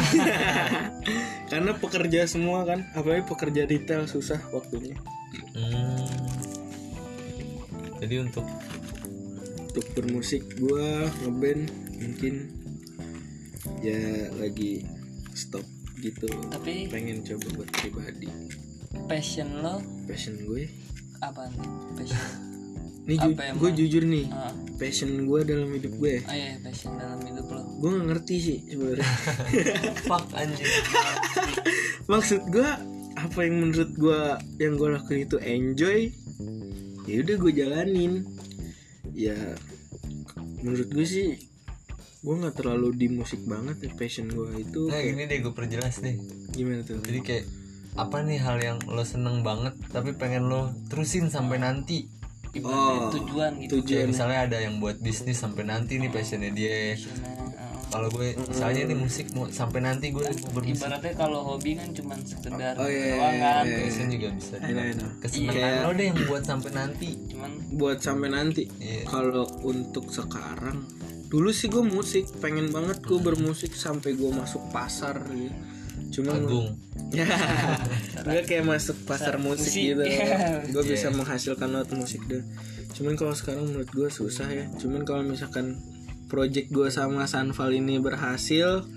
Speaker 3: karena pekerja semua kan, apalagi pekerja detail susah waktunya
Speaker 1: hmm. jadi untuk
Speaker 3: untuk bermusik gua ngeband mungkin ya lagi stop gitu
Speaker 2: tapi
Speaker 3: pengen coba buat pribadi
Speaker 2: passion lo
Speaker 3: passion gue
Speaker 2: apa nih passion
Speaker 3: nih
Speaker 2: Apa
Speaker 3: ju-
Speaker 2: emang?
Speaker 3: gue jujur nih
Speaker 2: Ah,
Speaker 3: passion gue dalam hidup gue
Speaker 2: ah iya, passion dalam hidup lo
Speaker 3: gue gak ngerti sih sebenarnya
Speaker 1: fuck anjir
Speaker 3: maksud gue apa yang menurut gue yang gue lakuin itu enjoy ya udah gue jalanin ya menurut gue sih gue nggak terlalu di musik banget ya passion gue itu
Speaker 1: Nah
Speaker 3: kayak-
Speaker 1: gini deh gue perjelas deh
Speaker 3: gimana tuh
Speaker 1: Jadi kayak apa nih hal yang lo seneng banget tapi pengen lo terusin sampai nanti
Speaker 3: Oh.
Speaker 2: Ibaratnya tujuan
Speaker 1: Kayak
Speaker 2: gitu
Speaker 3: tujuan
Speaker 1: misalnya ada yang buat bisnis sampai nanti nih passionnya dia
Speaker 2: ah,
Speaker 1: Kalau gue misalnya nih musik mau sampai nanti gue mau berbisnis
Speaker 2: ibaratnya kalau hobi kan cuman sekedar
Speaker 3: Oh, iya,
Speaker 2: doang
Speaker 3: iya,
Speaker 2: kan
Speaker 3: iya, iya.
Speaker 1: passion juga bisa
Speaker 3: Enak,
Speaker 1: dibilang.
Speaker 3: enak.
Speaker 1: Kesenangan lo deh yang buat sampai nanti
Speaker 2: cuman
Speaker 3: buat sampai nanti
Speaker 1: Iya.
Speaker 3: kalau untuk sekarang dulu sih gue musik pengen banget gue bermusik sampai gue masuk pasar ya cuma
Speaker 1: Agung
Speaker 3: ya gue kayak masuk pasar musik,
Speaker 2: musik,
Speaker 3: gitu
Speaker 2: iya.
Speaker 3: gue bisa menghasilkan not musik deh cuman kalau sekarang menurut gue susah ya cuman kalau misalkan project gue sama Sanval ini berhasil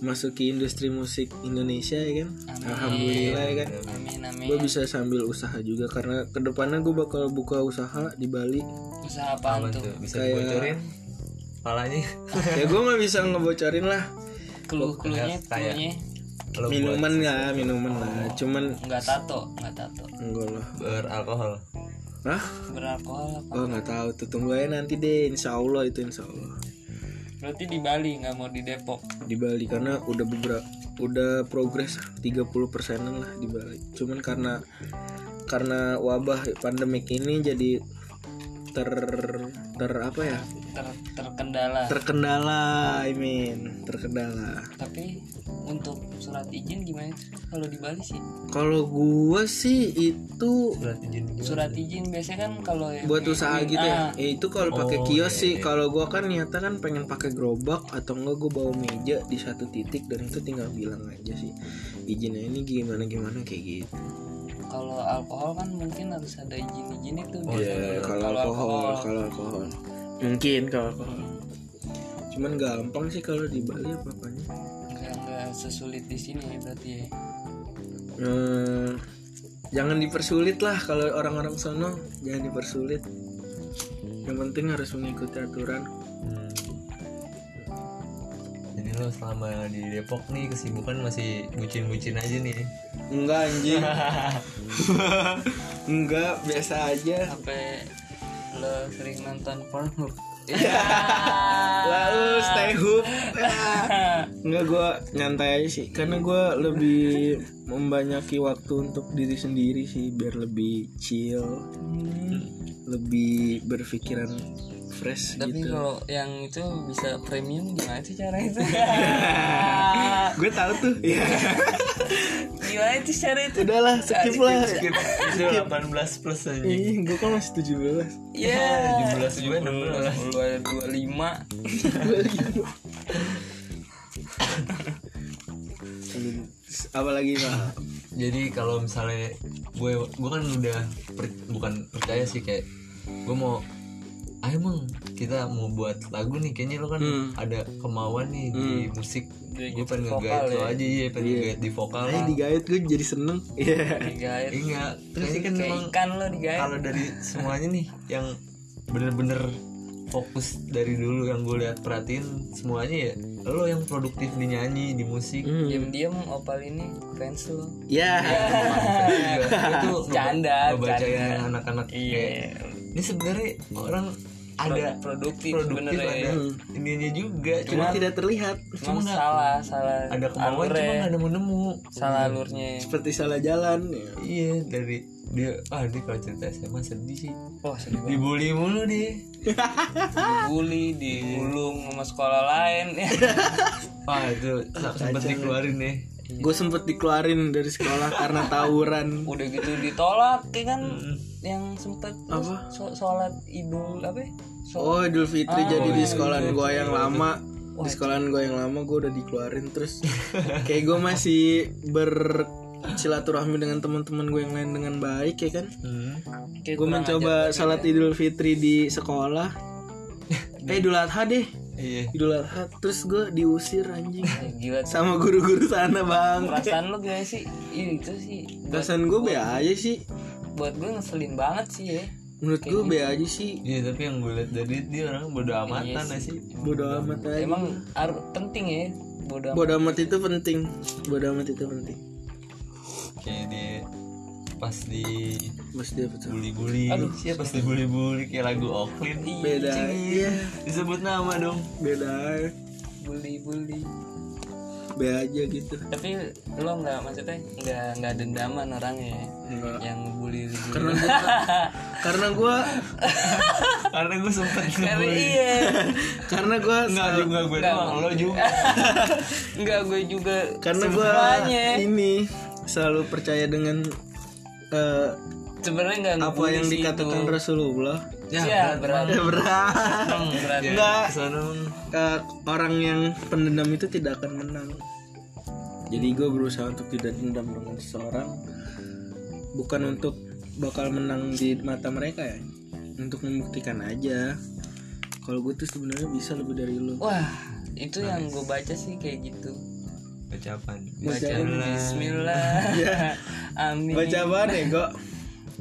Speaker 3: masuki industri musik Indonesia ya kan alhamdulillah ya kan
Speaker 2: amin amin
Speaker 3: gue bisa sambil usaha juga karena kedepannya gue bakal buka usaha di Bali
Speaker 2: usaha apaan tuh
Speaker 1: tuh bisa
Speaker 3: Kayak-
Speaker 1: dibocorin palanya
Speaker 3: ya gue nggak bisa ngebocorin lah
Speaker 2: keluh keluhnya
Speaker 1: kayak-
Speaker 2: keluhnya
Speaker 1: kalau buat
Speaker 3: minuman nggak minuman lah cuman
Speaker 2: nggak tato nggak tato
Speaker 3: enggak lah
Speaker 1: beralkohol
Speaker 3: Hah?
Speaker 2: beralkohol apa
Speaker 3: Oh nggak tahu tuh tunggu aja nanti deh Insya Allah itu Insya Allah
Speaker 2: berarti di Bali nggak mau di Depok
Speaker 3: di Bali karena udah beberapa udah progres 30 persenan lah di Bali cuman karena karena wabah pandemik ini jadi ter ter apa ya
Speaker 2: Ter- terkendala
Speaker 3: terkendala I mean terkendala
Speaker 2: tapi untuk surat izin gimana kalau di Bali sih
Speaker 3: kalau gua sih itu
Speaker 1: surat izin juga.
Speaker 2: surat
Speaker 3: Iya.
Speaker 2: izin biasanya kan kalau yang
Speaker 3: buat
Speaker 2: kayak
Speaker 3: usaha
Speaker 2: gini,
Speaker 3: gitu
Speaker 2: ah,
Speaker 3: ya Eh, itu kalau pakai
Speaker 1: Oh,
Speaker 3: kios
Speaker 1: iya,
Speaker 3: sih
Speaker 1: iya.
Speaker 3: kalau gua kan niatnya kan pengen pakai gerobak atau enggak gua bawa meja di satu titik dan itu tinggal bilang aja sih izinnya ini gimana gimana kayak gitu
Speaker 2: kalau alkohol kan mungkin harus ada izin izin itu biasanya.
Speaker 3: ya kalau alkohol kalau alkohol mungkin kalau alkohol cuman gampang sih kalau di Bali apa apanya
Speaker 2: nggak nggak sesulit di sini ya berarti ya
Speaker 3: Eh, jangan dipersulit lah kalau orang-orang sono jangan dipersulit yang penting harus mengikuti aturan
Speaker 1: Hmm. jadi lo selama di Depok nih kesibukan masih bucin-bucin aja nih
Speaker 3: Enggak anjing Enggak biasa aja
Speaker 2: sampai lo sering nonton porno
Speaker 3: Lalu stay hook Enggak gue nyantai aja sih Karena gue lebih membanyaki waktu untuk diri sendiri sih Biar lebih chill Lebih berpikiran fresh
Speaker 2: tapi
Speaker 3: gitu
Speaker 2: kalau yang itu bisa premium gimana sih cara itu
Speaker 3: Gue tahu tuh Iya.
Speaker 2: gimana sih cara itu
Speaker 3: Udahlah skip lah
Speaker 1: skip itu 18 plus aja
Speaker 3: Ih gue kan masih 17
Speaker 2: ya
Speaker 1: 17 juga 16
Speaker 2: lu ada dua lima
Speaker 3: Apalagi Pak
Speaker 1: jadi kalau misalnya gue gue kan udah per- bukan percaya sih kayak gue mau ah emang kita mau buat lagu nih kayaknya lo kan ada kemauan nih di musik gue pengen ngegait lo aja iya pengen ngegait di vokal
Speaker 3: Ayo Eh, digait gue jadi seneng Iya
Speaker 2: digait
Speaker 1: enggak kayaknya kan
Speaker 2: kayak
Speaker 1: memang
Speaker 2: ikan lo digait
Speaker 1: kalau dari semuanya nih yang bener-bener fokus dari dulu yang gue lihat perhatiin semuanya ya lo yang produktif di nyanyi di musik
Speaker 2: diam-diam opal ini fans lo
Speaker 3: Ya
Speaker 1: Iya. itu
Speaker 2: Canda,
Speaker 1: ngebacain
Speaker 2: canda. Iya.
Speaker 1: yang anak-anak kayak,
Speaker 3: Iya.
Speaker 1: ini sebenarnya orang ada
Speaker 2: produktif
Speaker 1: produktif ada
Speaker 2: sebenarnya ya.
Speaker 1: ininya juga cuma
Speaker 3: Cuma tidak terlihat
Speaker 2: cuma salah salah
Speaker 1: ada kemauan
Speaker 2: alurnya,
Speaker 1: cuma nggak nemu nemu
Speaker 2: salah alurnya
Speaker 3: Seperti salah jalan ya.
Speaker 1: iya dari dia ah dia kalau cerita SMA sedih sih
Speaker 2: wah sedih banget
Speaker 1: dibully mulu dia
Speaker 2: dibully digulung sama sekolah lain
Speaker 1: wah Ah, itu sempat dikeluarin ya
Speaker 3: Gue sempet dikeluarin dari sekolah karena tawuran.
Speaker 2: udah gitu ditolak ya kan yang sempet
Speaker 3: Apa?
Speaker 2: so- sholat idul apa ya? Sholat-
Speaker 3: Oh Idul Fitri jadi di sekolahan gue yang lama Di sekolahan gue yang lama gue udah dikeluarin Terus kayak gue masih bersilaturahmi dengan teman-teman gue yang lain dengan baik ya kan
Speaker 1: Hmm.
Speaker 2: kayak
Speaker 3: Gue
Speaker 2: kurang
Speaker 3: mencoba salat Idul Fitri di sekolah Eh Idul Adha deh
Speaker 1: iya
Speaker 3: Idul Adha Terus gue diusir anjing
Speaker 2: ajar. gila
Speaker 3: Sama guru-guru sana bang
Speaker 2: perasaan lo gimana sih Ih, itu sih buat,
Speaker 3: Perasaan gue be aja sih
Speaker 2: buat gue ngeselin banget sih ya
Speaker 3: Menurut gue be aja sih
Speaker 1: iya tapi yang gue lihat dari dia orang bodo amatan ya sih
Speaker 3: Bodo amat aja
Speaker 2: emang ar- penting ya bodoh amat.
Speaker 3: Bodo amat itu penting Bodo amat itu penting
Speaker 1: kayak dia pas di
Speaker 3: Mas David sama-
Speaker 1: Bully-bully
Speaker 2: Aduh, siapa?
Speaker 1: Pasti bully-bully kayak lagu Oklin
Speaker 3: Beda, iya.
Speaker 1: Disebut nama dong
Speaker 3: beda aja.
Speaker 2: bully bully
Speaker 3: be aja gitu
Speaker 2: tapi lo nggak maksudnya nggak nggak dendaman orangnya ya?
Speaker 3: Enggak.
Speaker 2: yang Iya. bully bully
Speaker 3: karena gua karena gua
Speaker 1: Karena gue sempet
Speaker 2: Karena
Speaker 1: ngebully
Speaker 2: iya
Speaker 3: karena gua
Speaker 1: Enggak juga gue
Speaker 2: Enggak.
Speaker 1: doang Lo juga
Speaker 2: nggak gue juga
Speaker 3: karena gua
Speaker 2: semuanya.
Speaker 3: ini selalu percaya dengan eh,
Speaker 2: sebenarnya nggak
Speaker 1: ya?
Speaker 3: apa
Speaker 2: ngebully
Speaker 3: yang
Speaker 2: sih
Speaker 3: dikatakan
Speaker 2: itu.
Speaker 3: Rasulullah
Speaker 2: ya berat
Speaker 3: ya berat
Speaker 2: berat
Speaker 3: Enggak.
Speaker 1: Ya, Kesana dong.
Speaker 3: Eh, orang yang pendendam itu tidak akan menang jadi gue berusaha untuk tidak dendam dengan seseorang bukan untuk bakal menang di mata mereka ya untuk membuktikan aja kalau gue tuh sebenarnya bisa lebih dari lo
Speaker 2: wah itu yang gue baca sih kayak gitu
Speaker 1: Ucapan
Speaker 2: baca Bismillah
Speaker 1: Ya.
Speaker 2: Amin
Speaker 3: baca apaan ya kok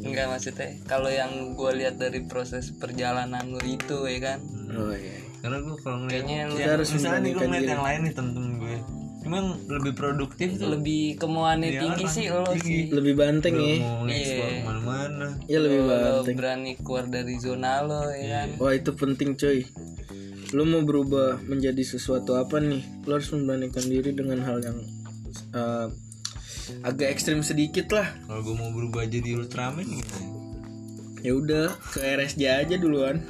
Speaker 2: Enggak maksudnya kalau yang gue lihat dari proses perjalanan lu itu ya kan
Speaker 3: oh iya
Speaker 1: Karena gue kalau ngeliat
Speaker 2: kayaknya lu
Speaker 1: ya,
Speaker 3: harus
Speaker 1: Misalnya nih gue
Speaker 3: membandingkan
Speaker 1: ngeliat
Speaker 3: diri.
Speaker 1: yang lain nih temen-temen gue Cuman lebih produktif tuh
Speaker 2: lebih kemauannya
Speaker 1: Iya,
Speaker 2: tinggi
Speaker 1: kan?
Speaker 2: sih lo
Speaker 1: Tinggi.
Speaker 2: sih
Speaker 3: lebih banteng ya
Speaker 1: Mau ekspor
Speaker 2: Iya.
Speaker 1: kemana-mana
Speaker 3: ya lebih
Speaker 1: Iya,
Speaker 2: Lo
Speaker 3: banteng
Speaker 2: berani keluar dari zona lo ya kan
Speaker 3: wah itu penting coy lo mau berubah menjadi sesuatu apa nih lo harus membandingkan diri dengan hal yang eh, agak ekstrim sedikit lah
Speaker 1: Kalau gue mau berubah jadi Ultraman gimana?
Speaker 3: ya udah ke RSJ aja duluan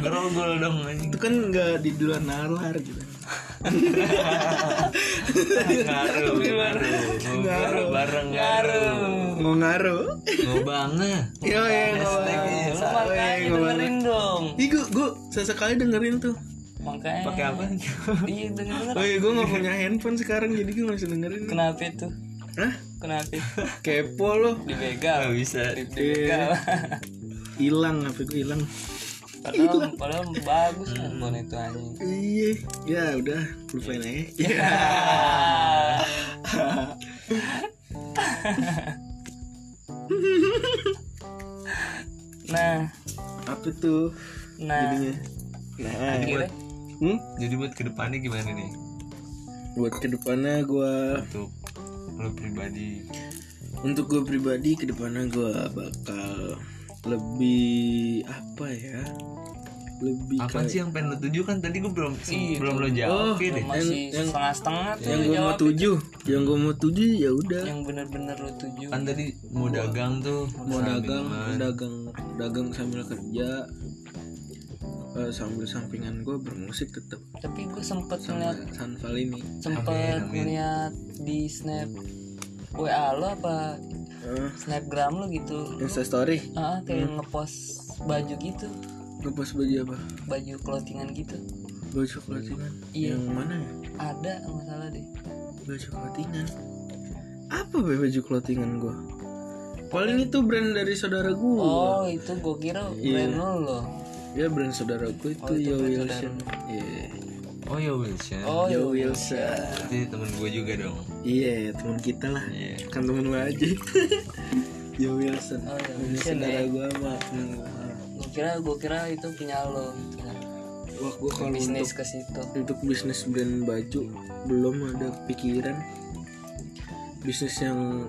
Speaker 1: Ngerogol dong anjing
Speaker 3: itu kan nggak di duluan nalar gitu
Speaker 1: Ngaruh Ngaruh Ngaruh Bareng ngaruh
Speaker 3: mau ngaruh
Speaker 1: Ngobangnya
Speaker 3: yo ya
Speaker 2: Nah, lo makanya dengerin dong
Speaker 3: Ih, gue gue sesekali dengerin tuh
Speaker 2: makanya
Speaker 1: Pakai apa?
Speaker 2: iya denger denger
Speaker 3: Oh iya, gue gak punya handphone sekarang jadi gue gak bisa dengerin
Speaker 2: kenapa itu
Speaker 3: Hah?
Speaker 2: kenapa itu
Speaker 3: Kepo lo
Speaker 1: Gak
Speaker 2: dibegal
Speaker 1: bisa
Speaker 2: Di- dibegal
Speaker 3: Hilang, HP gue hilang
Speaker 2: padahal padahal bagus handphone itu anjing
Speaker 3: Iya, ya udah, lupain aja
Speaker 2: nah
Speaker 3: Apa tuh
Speaker 2: nah
Speaker 3: jadinya? Ya. Nah,
Speaker 2: akhirnya
Speaker 3: hmm?
Speaker 1: Jadi buat kedepannya gimana nih?
Speaker 3: buat kedepannya gue
Speaker 1: Untuk lo pribadi
Speaker 3: untuk gue pribadi kedepannya gue bakal lebih apa ya lebih
Speaker 1: Apa
Speaker 3: kayak-
Speaker 1: sih yang pengen lo tuju kan tadi gue belum
Speaker 2: Iya,
Speaker 1: belum lo
Speaker 3: oh
Speaker 1: jawabin ya
Speaker 2: masih setengah-setengah tuh
Speaker 3: yang gue mau
Speaker 2: jawab
Speaker 3: tuju yang gue mau tuju ya udah
Speaker 2: yang bener-bener lu tuju
Speaker 1: Kan tadi mau dagang tuh
Speaker 3: Iya. mau
Speaker 1: sambil
Speaker 3: dagang
Speaker 1: main.
Speaker 3: dagang dagang sambil kerja Eh, sambil sampingan gue bermusik tetap
Speaker 2: tapi gue sempet
Speaker 3: sama
Speaker 2: ngeliat
Speaker 3: Sanval ini
Speaker 2: sempet ngeliat di snap WA lo apa
Speaker 3: Eh,
Speaker 2: snapgram lo gitu
Speaker 3: instastory
Speaker 2: ah kayak
Speaker 3: Hmm.
Speaker 2: ngepost baju gitu
Speaker 3: ngepost baju apa
Speaker 2: baju clothingan gitu
Speaker 3: baju clothingan
Speaker 2: Iya.
Speaker 3: yang mana ya
Speaker 2: ada nggak salah deh
Speaker 3: baju clothingan apa be baju clothingan gua paling itu brand dari saudara gua
Speaker 2: oh itu gue kira
Speaker 3: Iya.
Speaker 2: brand lo lo
Speaker 3: ya brand saudara gua itu
Speaker 2: Oh, itu
Speaker 3: Yo
Speaker 2: brand
Speaker 3: Wilson iya
Speaker 1: Oh ya Wilson
Speaker 2: oh
Speaker 3: Yo
Speaker 2: yo
Speaker 3: Wilson
Speaker 1: Berarti temen gue juga dong
Speaker 3: iya teman kita lah
Speaker 1: Iya
Speaker 3: kan temen lu aja Yo Wilson
Speaker 2: Oh, Yo
Speaker 3: Ini
Speaker 2: Wilson,
Speaker 3: saudara
Speaker 2: ya.
Speaker 3: gua sama temen gua.
Speaker 2: gue kira gue kira itu punya lo gitu kan.
Speaker 3: wah gua kalau untuk
Speaker 2: bisnis ke situ
Speaker 3: untuk bisnis brand baju belum ada pikiran bisnis yang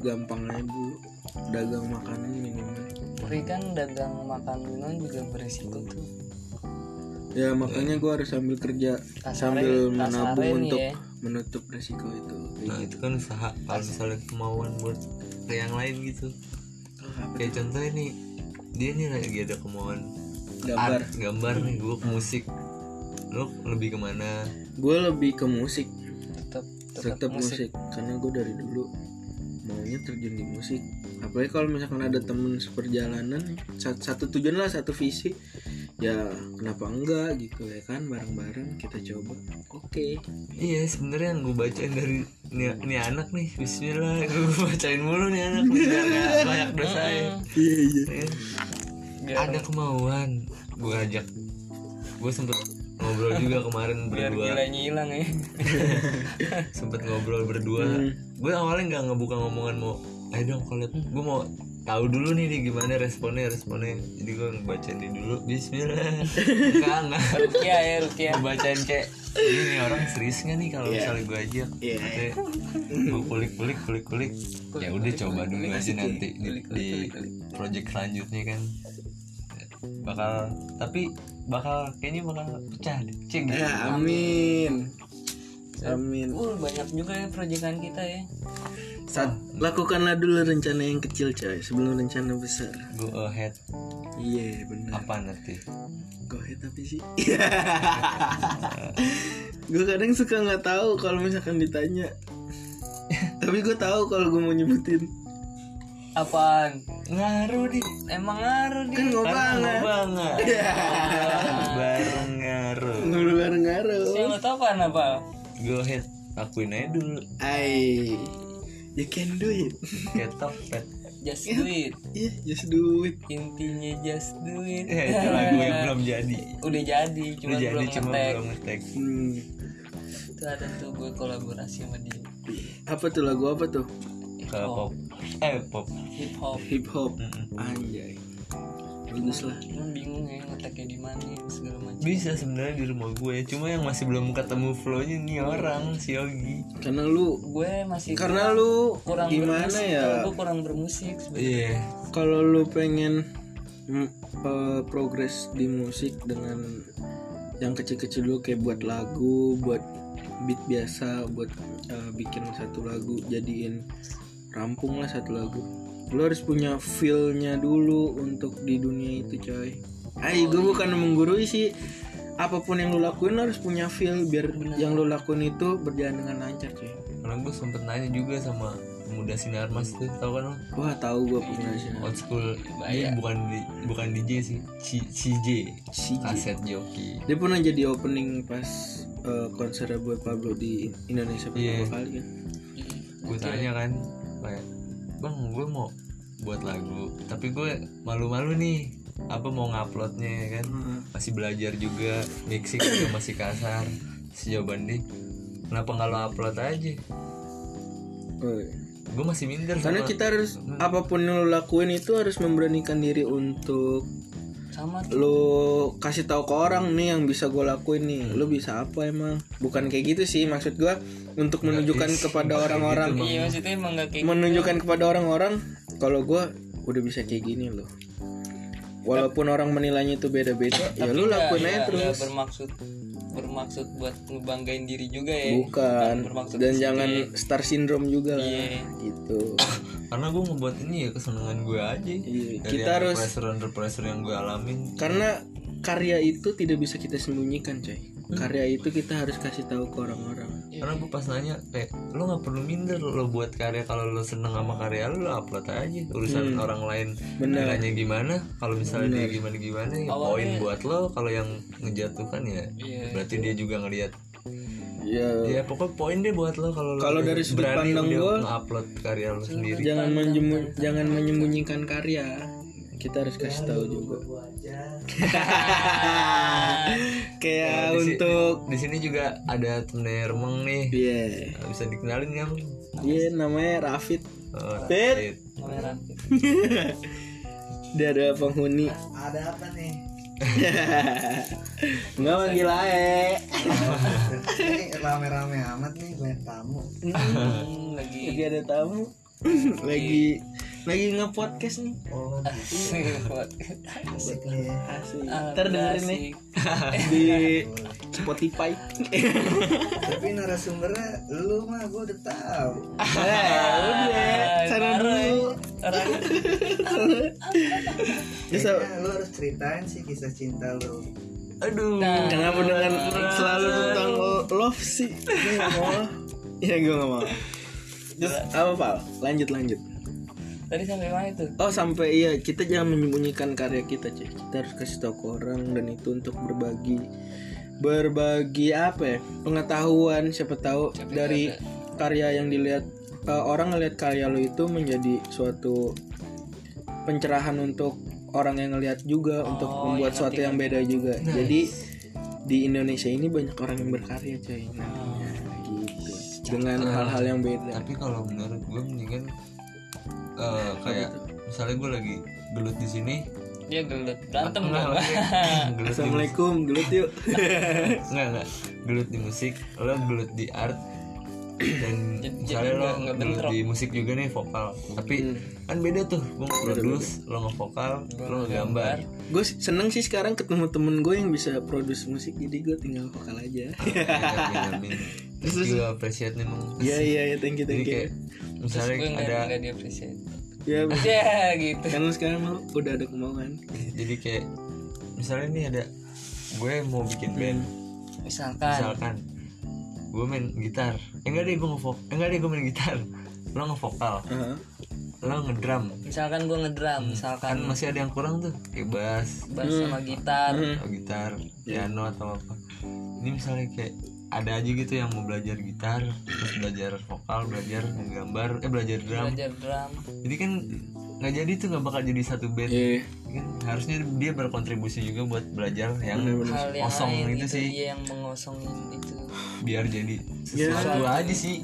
Speaker 3: gampang aja dulu dagang makanan minuman
Speaker 2: tapi kan dagang makan minuman juga beresiko tuh Iya.
Speaker 3: Ya makanya gue harus sambil kerja
Speaker 2: Kasarnya-
Speaker 3: sambil
Speaker 2: kasarnya
Speaker 3: menabung
Speaker 2: nih
Speaker 3: untuk
Speaker 2: ya.
Speaker 3: menutup resiko itu.
Speaker 1: Nah itu kan usaha Kalau misalnya kemauan buat ke yang lain gitu Kayak contohnya nih Dia nih lagi ada kemauan ke
Speaker 3: Gambar.
Speaker 1: art, Gambar nih gue ke musik Lo lebih kemana?
Speaker 3: Gue lebih ke musik,
Speaker 2: tetap
Speaker 3: tetap musik. karena gue dari dulu maunya terjun di musik. Apalagi kalau misalkan ada temen seperjalanan, sat- satu tujuan lah, satu visi, ya kenapa enggak gitu ya kan bareng-bareng kita coba. Oke.
Speaker 1: Iya sebenarnya yang gue bacain dari Ini, ini anak nih Bismillah Gue bacain mulu nih anak biar nggak Banyak dosa ya
Speaker 3: Iya iya.
Speaker 2: Biar-
Speaker 1: Ada kemauan Gue ajak Gue sempet ngobrol juga kemarin
Speaker 2: biar
Speaker 1: berdua
Speaker 2: gilanya hilang ya
Speaker 1: sempet ngobrol berdua gue awalnya nggak ngebuka ngomongan mau ayo dong collab gue mau tahu dulu nih dia gimana responnya responnya jadi gue ngebacain dia dulu Bismillah enggak enggak
Speaker 2: Rukia ya Rukia
Speaker 1: ngebacain kayak ini nih orang serius gak nih kalau misalnya gue ajak
Speaker 3: Iya.
Speaker 1: Maksudnya, gue kulik kulik kulik kulik ya udah coba dulu aja nanti di, di project selanjutnya kan bakal tapi bakal kayaknya bakal pecah deh cing
Speaker 3: Ya, amin. Amin.
Speaker 2: Uh, banyak juga ya proyekan kita ya
Speaker 3: Sat, lakukanlah dulu rencana yang kecil, coy, sebelum rencana besar.
Speaker 1: go ahead
Speaker 3: Iya, benar.
Speaker 1: apa nanti
Speaker 3: Go ahead tapi sih. gue kadang suka nggak tahu kalau misalkan ditanya. tapi gue tahu kalau gue mau nyebutin.
Speaker 2: apaan
Speaker 1: ngaruh di
Speaker 2: emang ngaruh dia
Speaker 3: Kan ngobangan.
Speaker 1: banget bareng ngaruh
Speaker 3: Ngulu bareng ngaruh.
Speaker 2: Saya nggak tahu apaan kan apa
Speaker 1: go ahead lakuin aja dulu
Speaker 3: Ay, you can do it.
Speaker 1: ketok pet
Speaker 2: just do it
Speaker 3: Iya, just do it.
Speaker 2: intinya just do it
Speaker 1: eh, itu lagu yang belum jadi
Speaker 2: udah jadi cuma
Speaker 1: udah jadi
Speaker 2: belum
Speaker 1: cuma
Speaker 2: ngetek
Speaker 1: belum ngetek
Speaker 3: Hmm.
Speaker 2: itu ada tuh gue kolaborasi sama dia
Speaker 3: Apa tuh lagu apa tuh?
Speaker 1: ke
Speaker 2: Oh.
Speaker 1: pop eh pop
Speaker 2: hip hop
Speaker 3: Hip hop.
Speaker 1: Mm-mm.
Speaker 3: Anjay. Bagus lah.
Speaker 2: cuman bingung ya ngeteknya di mana segala macam
Speaker 1: bisa sebenarnya di rumah gue cuma yang masih belum ketemu flownya nih orang si Yogi
Speaker 3: Karena lu
Speaker 2: gue masih
Speaker 3: karena lu
Speaker 2: kurang
Speaker 3: gimana
Speaker 2: bermusik,
Speaker 3: ya?
Speaker 2: gue kurang bermusik sebenarnya.
Speaker 1: iya
Speaker 3: Kalau lu pengen mm, eh, progres di musik dengan yang kecil-kecil dulu kayak buat lagu, buat beat biasa, buat eh, bikin satu lagu jadiin rampung lah satu lagu. Lu harus punya feel-nya dulu untuk di dunia itu, coy. Ay, gue bukan menggurui sih. Apapun yang lu lakuin lu harus punya feel biar yang lu lakuin itu berjalan dengan lancar, coy.
Speaker 1: karena gue sempet nanya juga sama pemuda sinar mas tuh tau kan lo
Speaker 3: Wah, tahu gue punya sih.
Speaker 1: old school
Speaker 3: Iya.
Speaker 1: dia bukan di- bukan DJ sih C CJ kaset joki
Speaker 3: Dia pernah jadi opening pas eh, konser Boy Pablo di Indonesia pertama
Speaker 1: Iya.
Speaker 3: kali kan.
Speaker 1: gue tanya kan kayak bang gue mau buat lagu tapi gue malu-malu nih apa mau nguploadnya ya kan
Speaker 3: Hmm.
Speaker 1: masih belajar juga mixing juga masih kasar Si jawaban dia kenapa nggak lo upload aja
Speaker 3: Oh,
Speaker 1: gue masih minder
Speaker 3: Karena
Speaker 1: sama-
Speaker 3: kita harus apapun yang lo lakuin itu harus memberanikan diri untuk
Speaker 2: sama tuh
Speaker 3: lo kasih tahu ke orang nih yang bisa gue lakuin nih. Lo bisa apa emang? Bukan kayak gitu sih maksud gue untuk menunjukkan kepada orang-orang
Speaker 2: iya maksudnya emang gak kayak
Speaker 3: menunjukkan kepada orang-orang kalau gue udah bisa kayak gini loh. Walaupun orang menilainya itu beda-beda, ya lu lakuin aja terus.
Speaker 2: Gak bermaksud bermaksud buat ngebanggain diri juga ya
Speaker 3: Bukan.
Speaker 2: bermaksud
Speaker 3: Dan
Speaker 2: positif.
Speaker 3: jangan star syndrome juga lah.
Speaker 2: Iya.
Speaker 3: Gitu.
Speaker 1: karena gue ngebuat ini ya kesenangan gue aja Dari
Speaker 3: Iya, kita
Speaker 1: under
Speaker 3: harus-
Speaker 1: pressure under pressure yang gue alamin
Speaker 3: Karena karya itu tidak bisa kita sembunyikan, coy. Karya itu kita harus kasih tahu ke orang-orang.
Speaker 1: karena gue pas nanya kayak lo nggak perlu minder lo buat karya kalau lo seneng sama karya lo, lo upload aja urusan
Speaker 3: Hmm.
Speaker 1: orang lain nilainya gimana kalau misalnya dia gimana gimana ya poin buat lo kalau yang ngejatuhkan ya
Speaker 2: Iya.
Speaker 1: berarti dia juga ngelihat
Speaker 3: Ya,
Speaker 1: ya pokoknya poin deh buat lo kalau lo
Speaker 3: Kalau dari sudut
Speaker 1: berani
Speaker 3: pandang
Speaker 1: udah
Speaker 3: gua,
Speaker 1: nge-upload karya lo sendiri
Speaker 3: jangan menjemu- jangan menyembunyikan karya. Kita harus kasih tahu juga. Kayak
Speaker 1: Nah, di si-
Speaker 3: untuk
Speaker 1: di sini juga ada temennya remeng nih
Speaker 3: Iya.
Speaker 1: Nah, bisa dikenalin kan
Speaker 3: Iya, namanya Rafid.
Speaker 1: Oh,
Speaker 3: Fit.
Speaker 1: Fit.
Speaker 2: Kamera.
Speaker 3: Dia ada penghuni.
Speaker 4: ada apa nih
Speaker 3: Enggak manggil ae.
Speaker 4: ini rame-rame amat nih banyak tamu
Speaker 2: Hmm, lagi
Speaker 3: Lagi ada tamu. Iya. lagi lagi nge-podcast nih.
Speaker 4: oh asik nih
Speaker 3: Asik. Ah, Ntar dengerin nih
Speaker 2: Terdengerin
Speaker 3: di Spotify.
Speaker 4: tapi narasumbernya lu mah gue udah tahu
Speaker 3: Eh, udah, sana dulu. Bisa
Speaker 4: Kayaknya lu harus ceritain sih kisah cinta lu
Speaker 1: aduh
Speaker 3: kenapa dengan selalu tentang lo- love sih? Gue nggak mau. Iya, gue nggak mau. Terus apa, Pak? Lanjut, lanjut.
Speaker 2: Tadi sampai mana itu?
Speaker 3: Oh, sampai iya, kita jangan menyembunyikan karya kita, cuy. Kita harus kasih tahu ke orang dan itu untuk berbagi berbagi apa ya? Pengetahuan siapa tahu dari karya yang dilihat eh, orang ngelihat karya lo itu menjadi suatu pencerahan untuk orang yang ngelihat juga untuk membuat suatu Oh, yang beda juga. Jadi di Indonesia ini banyak orang yang berkarya coy. Nah, gitu.
Speaker 2: Hmm.
Speaker 3: Dengan hal-hal yang beda.
Speaker 2: gitu?
Speaker 1: tapi kalau menurut gue mendingan eh, kayak misalnya gue lagi gelut di sini
Speaker 2: Dia gelut berantem
Speaker 1: enggak
Speaker 2: dong.
Speaker 1: maksudnya gelut di musik
Speaker 3: Assalamualaikum, gelut yuk.
Speaker 1: enggak enggak gelut di musik lo gelut di art dan
Speaker 2: Jadi-
Speaker 1: misalnya
Speaker 2: jadi
Speaker 1: lo
Speaker 2: nggak- nggak
Speaker 1: gelut
Speaker 2: bentrok. Hmm.
Speaker 1: di musik juga nih vokal tapi kan beda tuh gue nge-produce lo nge-vokal lo ngegambar
Speaker 3: gue seneng sih sekarang ketemu temen gue yang bisa produce musik, jadi gue tinggal vokal aja.
Speaker 1: Benjamin. terus juga appreciate nih Mang.
Speaker 3: Iya iya iya, thank you
Speaker 1: jadi
Speaker 3: thank
Speaker 1: kayak
Speaker 3: you.
Speaker 1: misalnya
Speaker 2: Gue nggak
Speaker 1: ada
Speaker 2: nggak di-appreciate.
Speaker 3: Ya
Speaker 2: Ya gitu.
Speaker 3: kan lu sekarang lu udah ada kemauan.
Speaker 1: jadi kayak misalnya nih ada gue mau bikin band
Speaker 2: Misalkan
Speaker 1: misalkan gue main gitar eh, enggak deh gue ngevok eh, enggak deh gue main gitar lo ngevokal
Speaker 3: Heeh.
Speaker 1: lo ngedrum
Speaker 2: misalkan gue ngedrum, misalkan
Speaker 1: kan masih ada yang kurang tuh kayak bass
Speaker 2: bass sama gitar.
Speaker 1: atau gitar piano atau apa ini misalnya kayak ada aja gitu yang mau belajar gitar terus belajar vokal belajar menggambar eh belajar drum
Speaker 2: belajar drum
Speaker 1: jadi kan nggak jadi tuh nggak bakal jadi satu band
Speaker 3: Iya.
Speaker 1: kan harusnya dia berkontribusi juga buat belajar yang
Speaker 2: hal yang
Speaker 1: kosong
Speaker 2: lain gitu, iya.
Speaker 1: itu
Speaker 2: itu
Speaker 1: sih
Speaker 2: dia yang mengosongin itu
Speaker 1: biar jadi sesuatu aja sih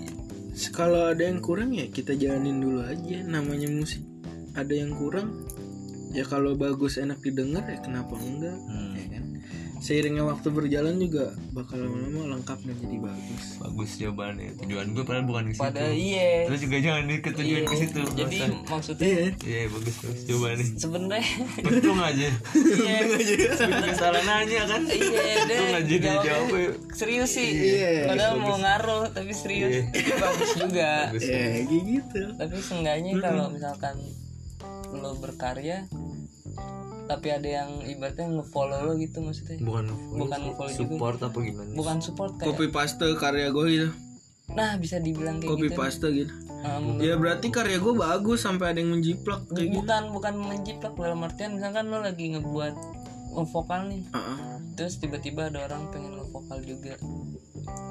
Speaker 3: Kalau ada yang kurang ya kita jalanin dulu aja namanya musik. Ada yang kurang ya kalau bagus enak didengar ya kenapa enggak?
Speaker 1: Hmm,
Speaker 3: Ya kan? Seiringnya waktu berjalan juga bakal lama-lama lengkap dan jadi bagus.
Speaker 1: bagus jawabannya tujuan gue padahal bukan ke situ
Speaker 2: pada iya
Speaker 1: terus juga jangan ikut tujuan ke situ
Speaker 2: jadi
Speaker 1: bosan.
Speaker 2: maksudnya
Speaker 3: Iya.
Speaker 1: iya bagus bagus jawabannya
Speaker 2: sebenarnya
Speaker 1: untung aja
Speaker 2: iya
Speaker 1: Sebenernya salah nanya kan
Speaker 2: iya deh
Speaker 1: untung aja dia
Speaker 2: jawabnya
Speaker 1: jawab ya.
Speaker 2: serius sih
Speaker 3: Iya,
Speaker 2: padahal mau ngaruh tapi serius bagus juga
Speaker 1: bagus
Speaker 3: Ya kayak gitu.
Speaker 2: tapi seenggaknya kalau misalkan lo berkarya tapi ada yang ibaratnya ngefollow lo gitu maksudnya
Speaker 1: bukan
Speaker 2: Bukan follow juga.
Speaker 1: support apa gimana
Speaker 2: bukan support kayak
Speaker 3: Copy paste karya gue gitu.
Speaker 2: nah bisa dibilang kayak
Speaker 3: Copy
Speaker 2: gitu
Speaker 3: paste gitu.
Speaker 2: Nah, menurut
Speaker 3: Ya berarti karya gue bagus sampai ada yang menjiplak kayak gitu.
Speaker 2: bukan bukan menjiplak dalam artian misalkan lo lagi ngebuat vokal nih
Speaker 3: Heeh.
Speaker 2: terus tiba-tiba ada orang pengen lo vokal juga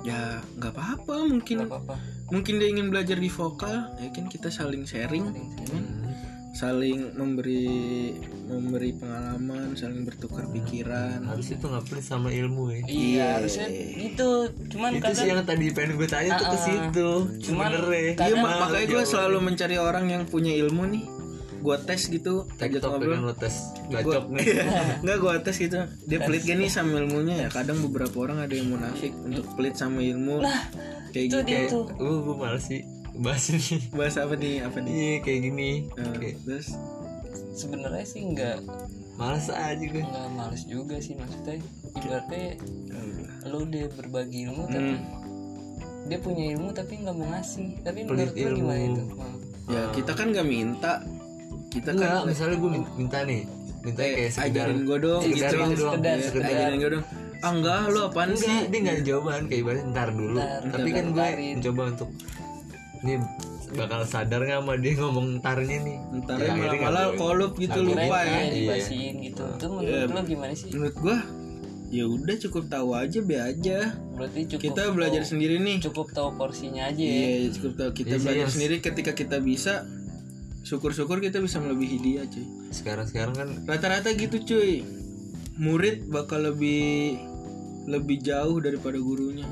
Speaker 3: Ya nggak apa-apa mungkin
Speaker 2: nggak apa-apa
Speaker 3: mungkin dia ingin belajar di vokal ya kan kita saling sharing ya kan? saling memberi memberi pengalaman saling bertukar pikiran
Speaker 1: harus itu nggak pelit sama ilmu ya
Speaker 2: iya harusnya gitu cuman
Speaker 1: itu sih yang
Speaker 2: kadang Ah,
Speaker 1: tadi pengen gue tanya tuh ke situ ya.
Speaker 2: Cuman
Speaker 1: sebenernya
Speaker 3: iya mak- makanya gue selalu mencari orang yang punya ilmu nih gue tes gitu ajak
Speaker 1: TikTok
Speaker 3: ngobrol
Speaker 1: dengan lo tes gacok nih
Speaker 2: Iya.
Speaker 3: Enggak gue tes gitu Dia pelit gak nih sama ilmunya ya Kadang beberapa orang ada yang munafik Untuk pelit sama ilmu Kayak
Speaker 2: itu
Speaker 3: gitu
Speaker 2: dia tuh
Speaker 1: uh gue males sih bahas ini
Speaker 3: Bahas apa nih Apa nih
Speaker 1: iya kayak gini
Speaker 3: Nah,
Speaker 1: kayak
Speaker 3: Terus
Speaker 2: sebenarnya sih nggak
Speaker 1: males aja gue
Speaker 2: nggak males juga sih maksudnya ibaratnya lo udah berbagi ilmu tapi dia punya ilmu tapi nggak mau ngasih tapi menurut lo gimana itu
Speaker 3: Ya kita kan gak minta Kita
Speaker 1: enggak
Speaker 3: kan
Speaker 1: misalnya gue minta nih minta kayak sekedar
Speaker 3: Eh, ajarin gue dong
Speaker 1: sekedar
Speaker 3: gitu.
Speaker 1: gitu doang
Speaker 2: sekedar,
Speaker 1: Iya,
Speaker 2: sekedar.
Speaker 3: Ajarin gue dong Ah enggak lu apaan sih
Speaker 1: enggak dia nggak ada jawaban kayak ibaratnya ntar dulu tapi kan gue mencoba untuk ini bakal sadar nggak sama dia ngomong ntarnya nih
Speaker 3: Ntar
Speaker 1: Ya,
Speaker 3: ya,
Speaker 1: akhirnya
Speaker 3: malah
Speaker 1: nggak
Speaker 3: kolup gitu
Speaker 2: Kirain
Speaker 3: lupa ya
Speaker 2: kayak dibasihin gitu itu menurut lo gimana sih
Speaker 3: Menurut gue ya udah cukup tahu aja be aja
Speaker 2: berarti cukup
Speaker 3: kita belajar sendiri nih
Speaker 2: cukup tahu porsinya aja ya
Speaker 3: Iya, cukup tahu kita belajar sendiri ketika kita bisa syukur-syukur kita bisa melebihi dia, cuy.
Speaker 1: sekarang sekarang kan
Speaker 3: Rata-rata gitu, cuy. Murid bakal lebih lebih jauh daripada gurunya.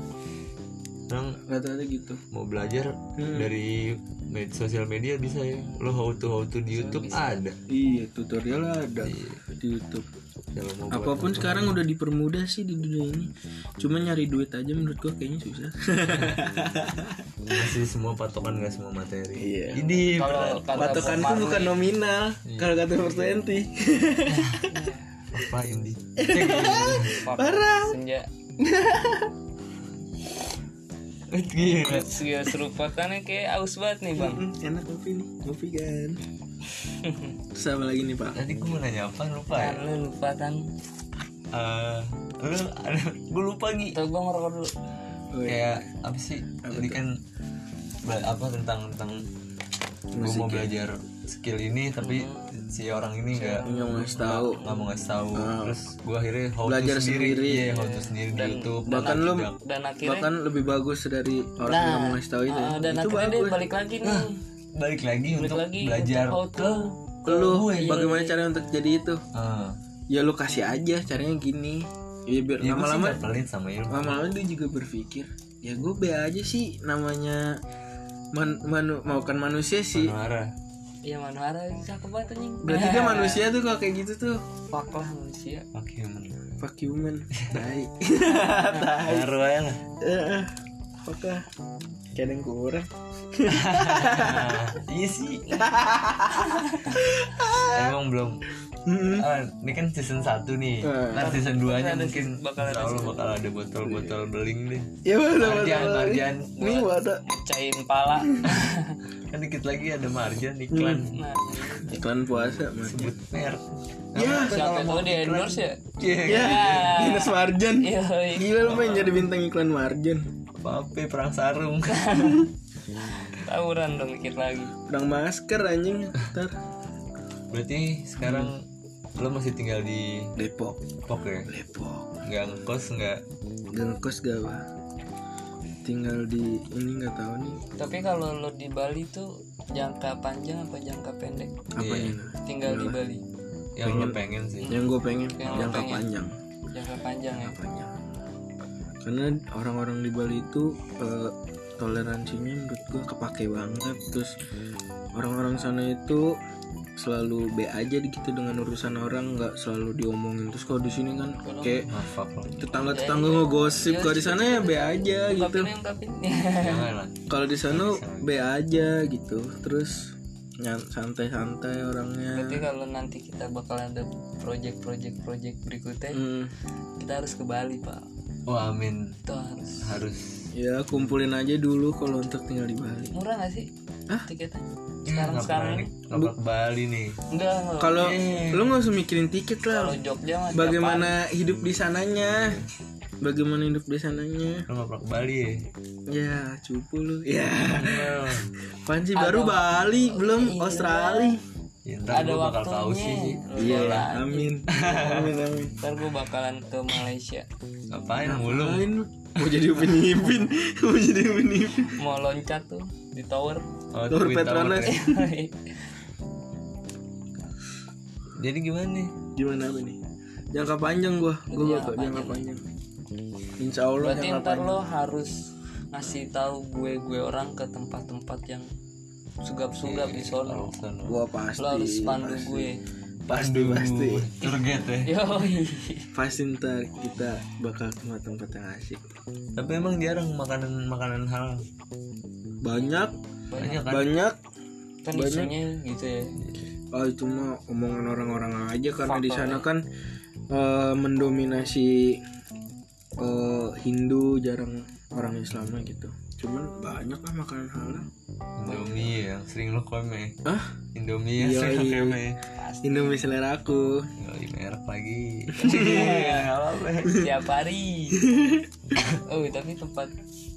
Speaker 1: orang
Speaker 3: Rata-rata gitu.
Speaker 1: mau belajar
Speaker 3: Hmm.
Speaker 1: dari med sosial media bisa ya lo how to how to di YouTube ada
Speaker 3: Iya, tutorial ada
Speaker 1: Iya.
Speaker 3: di YouTube.
Speaker 1: dalam mau buat
Speaker 3: Apapun sekarang udah dipermudah sih di dunia ini. Cuma nyari duit aja menurut gua kayaknya susah.
Speaker 1: masih semua patokan gak semua materi
Speaker 3: Iya.
Speaker 1: ini
Speaker 2: kalau kata
Speaker 3: Patokanku bukan nominal,
Speaker 1: Iya.
Speaker 3: kalau kata persenty.
Speaker 1: apa ini
Speaker 2: parah senja
Speaker 1: gila
Speaker 2: Segala serupatannya kan ya, kayak aus banget nih bang
Speaker 3: Hmm, enak kopi nih, kopi kan. Terus apa lagi nih, Pak?
Speaker 1: tadi gue mau nanya apa lupa ya
Speaker 2: Kan lu lupa kan
Speaker 1: Eh, lu gue lupa Gi
Speaker 2: Tuh gua ngerokok dulu
Speaker 1: kayak apa sih tadi kan bela- apa tentang tentang gue
Speaker 3: ya?
Speaker 1: mau belajar skill ini tapi
Speaker 3: Hmm.
Speaker 1: si orang ini nggak
Speaker 3: Yang mau ngasih tahu.
Speaker 1: nggak mau ngasih tahu terus gue akhirnya how
Speaker 3: Ah. Belajar
Speaker 1: to sendiri,
Speaker 3: sendiri.
Speaker 1: Iya, how to sendiri di YouTube
Speaker 3: Bahkan lu
Speaker 2: Dan akhirnya
Speaker 3: bahkan lebih bagus dari orang
Speaker 2: Nah,
Speaker 3: yang nggak mau ngasih tahu itu. ya.
Speaker 2: ah, Dan
Speaker 3: itu
Speaker 2: akhirnya dia balik lagi nih
Speaker 1: balik lagi
Speaker 2: Balik
Speaker 1: untuk
Speaker 2: lagi
Speaker 1: belajar Iya.
Speaker 2: untuk how to
Speaker 3: lu
Speaker 2: ya,
Speaker 3: iya. bagaimana
Speaker 2: iya.
Speaker 3: cara untuk jadi itu?
Speaker 1: Ah,
Speaker 3: Ya lu kasih aja caranya gini. Ya biar
Speaker 1: ya gue sih
Speaker 3: lama-lama
Speaker 1: nggak pelit sama ilmu
Speaker 3: lama-lama dia juga berpikir, ya gue be aja sih namanya man, manu, maukan kan manusia sih.
Speaker 1: marah
Speaker 2: Iya Manuhara cakep banget anjing.
Speaker 3: Berarti dia manusia tuh kalau kayak gitu tuh
Speaker 2: Fuck lah manusia.
Speaker 1: Fuck human.
Speaker 3: Fuck human Tai
Speaker 1: Ngaruh aja lah.
Speaker 3: Eh, Fuck lah Kayak ada yang kurang
Speaker 1: Nah, iya sih. Emang belum.
Speaker 3: Mm-mm.
Speaker 2: Hmm.
Speaker 1: Ah, ini kan season 1 nih.
Speaker 3: Eh.
Speaker 1: Nah, season 2 nya mungkin
Speaker 2: bakal
Speaker 1: bakal
Speaker 2: ada
Speaker 1: ada bakal ada botol-botol
Speaker 2: Iya.
Speaker 1: beling deh.
Speaker 3: Ya mana
Speaker 1: Marjan, Marjan.
Speaker 3: Ini ada
Speaker 2: Pecahin pala.
Speaker 1: Kan dikit lagi ada marjan iklan.
Speaker 2: nah,
Speaker 3: Iklan puasa Marjan
Speaker 1: Sebut merek.
Speaker 3: Ya
Speaker 2: siapa tahu dia endorse ya?
Speaker 1: Iya.
Speaker 3: Ya Minus Marjan
Speaker 2: Iya.
Speaker 3: Gila lu pengen jadi bintang iklan Marjan
Speaker 1: Apa eh, perang sarung.
Speaker 2: Tawuran dong dikit lagi.
Speaker 3: Perang masker anjing Ntar
Speaker 1: Berarti sekarang lo masih tinggal di
Speaker 3: Depok
Speaker 1: Depok ya?
Speaker 3: Depok
Speaker 1: Nggak ngekos nggak?
Speaker 3: Dan kos gawa Tinggal di Ini nggak tahu nih
Speaker 2: Tapi kalau lo di Bali tuh jangka panjang apa jangka pendek?
Speaker 3: Apa
Speaker 1: Iya.
Speaker 3: ini
Speaker 2: Tinggal di Bali.
Speaker 1: Yang lo pengen sih.
Speaker 3: Yang gue pengen
Speaker 2: Yang lu
Speaker 3: Jangka
Speaker 2: pengen.
Speaker 3: panjang
Speaker 2: Jangka panjang ya.
Speaker 3: apanya karena orang-orang di Bali itu eh, toleransinya menurut gua kepake banget terus orang-orang sana itu selalu be aja di- gitu dengan urusan orang nggak selalu diomongin terus kalau di sini kan kayak
Speaker 2: Hmm.
Speaker 1: Ah, fuck lo.
Speaker 2: Eh.
Speaker 3: tetangga-tetangga ngegosip kalau di sana ya be aja gitu
Speaker 2: Ungkapin ungkapin.
Speaker 1: Jangan lah.
Speaker 3: kalau di sana be aja gitu terus nyan- santai-santai orangnya
Speaker 2: Berarti kalau nanti kita bakal ada project-project project berikutnya,
Speaker 3: Hmm,
Speaker 2: kita harus ke Bali, Pak.
Speaker 1: Oh amin.
Speaker 2: Itu harus.
Speaker 1: Harus.
Speaker 3: ya kumpulin aja dulu kalau untuk tinggal di Bali
Speaker 2: Murah gak sih?
Speaker 3: Hah?
Speaker 2: Tiketnya?
Speaker 1: Ya,
Speaker 2: Sekarang
Speaker 1: nggak
Speaker 2: sekarang
Speaker 1: pernah
Speaker 2: ini.
Speaker 1: nih. Nggak pernah ke Bali nih.
Speaker 2: Enggak, enggak.
Speaker 3: kalau lu nggak usah mikirin tiket lah
Speaker 2: Kalau Jogja mah
Speaker 3: bagaimana hidup di sananya bagaimana hidup di sananya
Speaker 1: Lo nggak pernah ke Bali ya?
Speaker 3: ya cupu lu ya
Speaker 1: Nah,
Speaker 3: panci baru Bali belum Australia
Speaker 1: ya ntar
Speaker 2: Ada
Speaker 1: gue bakal
Speaker 2: waktunya.
Speaker 1: tahu sih.
Speaker 3: iya lah amin amin amin
Speaker 2: Ntar gue bakalan ke Malaysia
Speaker 1: Ngapain mulu?
Speaker 2: Iya.
Speaker 3: Lain lu. mau jadi upin ipin mau jadi upin ipin
Speaker 2: Mau loncat tuh di tower
Speaker 1: Oh,
Speaker 3: Tur
Speaker 1: Twin Tower
Speaker 3: Petronas.
Speaker 1: ya. Jadi gimana nih?
Speaker 3: gimana apa nih jangka panjang gua gua bakal jangka panjang Insya Allah
Speaker 2: Berarti
Speaker 3: jangka
Speaker 2: ntar lo harus ngasih tahu gue gue orang ke tempat-tempat yang sugap-sugap di sono.
Speaker 1: Sono.
Speaker 3: gua Iya, pasti
Speaker 2: Lo harus pandu gue.
Speaker 3: pasti pasti
Speaker 1: Turget ya.
Speaker 2: Yoi.
Speaker 3: pasti ntar kita bakal ke tempat yang asik
Speaker 1: Tapi emang jarang makanan makanan halal.
Speaker 3: banyak
Speaker 1: Banyak kan?
Speaker 3: banyak
Speaker 2: Kan isunya gitu ya.
Speaker 3: Oh itu mah omongan orang-orang aja karena di sana kan eh, mendominasi eh, Hindu jarang orang Islamnya gitu. Cuman banyak lah makanan halal.
Speaker 1: Indomie yang sering lo komen.
Speaker 3: Ah,
Speaker 1: Indomie yang sering lo
Speaker 3: Yoi.
Speaker 1: komen.
Speaker 3: Indomie selera aku.
Speaker 1: Yoi, merek lagi. Iya, nggak apa-apa.
Speaker 2: Tiap hari. oh tapi tempat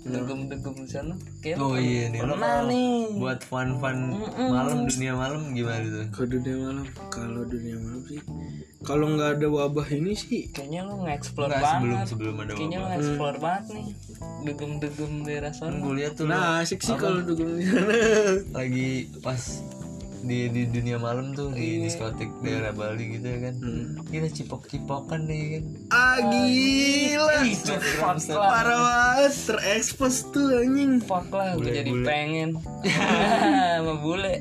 Speaker 3: Iya.
Speaker 2: degem-degem di sana kayak
Speaker 1: Oh iya nih lo
Speaker 2: pernah
Speaker 1: kalau
Speaker 2: nih.
Speaker 1: buat fun fun malam dunia malam gimana tuh?
Speaker 3: Ke dunia malam, kalau dunia malam sih, kalau nggak ada wabah ini sih,
Speaker 2: Kayaknya lo nge-explore
Speaker 1: Enggak
Speaker 2: banget.
Speaker 1: sebelum sebelum ada
Speaker 2: Kayaknya lo
Speaker 1: wabah.
Speaker 2: explore banget nih Degem-degem daerah sono
Speaker 1: Gue lihat tuh lo
Speaker 3: nah asik sih kalau dukung di sana.
Speaker 1: lagi pas di di dunia malam tuh di
Speaker 3: Iya.
Speaker 1: diskotik daerah Bali gitu ya kan. Kita cipok-cipokan nih kan.
Speaker 3: Ah gila,
Speaker 1: Instagram
Speaker 3: parah banget, terekspos tuh anjing.
Speaker 2: Fuck lah gue jadi pengen Sama bule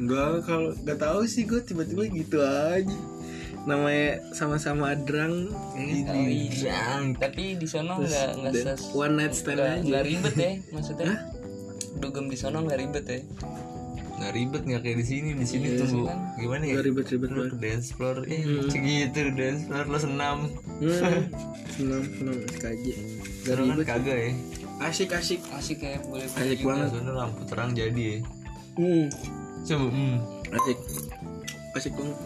Speaker 3: Enggak, kalau nggak tahu sih gue tiba-tiba gitu aja. Namanya sama-sama drang, ya kan?
Speaker 1: Instagram.
Speaker 2: Tapi di sono nggak nggak ses
Speaker 3: one night stand
Speaker 2: nggak-
Speaker 3: aja.
Speaker 2: nggak ribet ya maksudnya Dugem di sono nggak ribet ya
Speaker 1: Nggak ribet nggak kayak di sini di sini tunggu gimana ya?
Speaker 3: Iya Nggak ribet-ribet
Speaker 1: Lu
Speaker 3: banget.
Speaker 1: ke dance floor, eh segitu dance floor lo senam.
Speaker 3: Hmm, senam, senam, SKJ. Nggak
Speaker 1: Seru kan
Speaker 3: ribet.
Speaker 1: kagak ya?
Speaker 3: Asik, asik.
Speaker 2: Asik ya boleh
Speaker 3: Asik banget.
Speaker 1: Soalnya lampu terang jadi ya.
Speaker 3: Hmm,
Speaker 1: Coba, hmm.
Speaker 3: asik. Asik banget.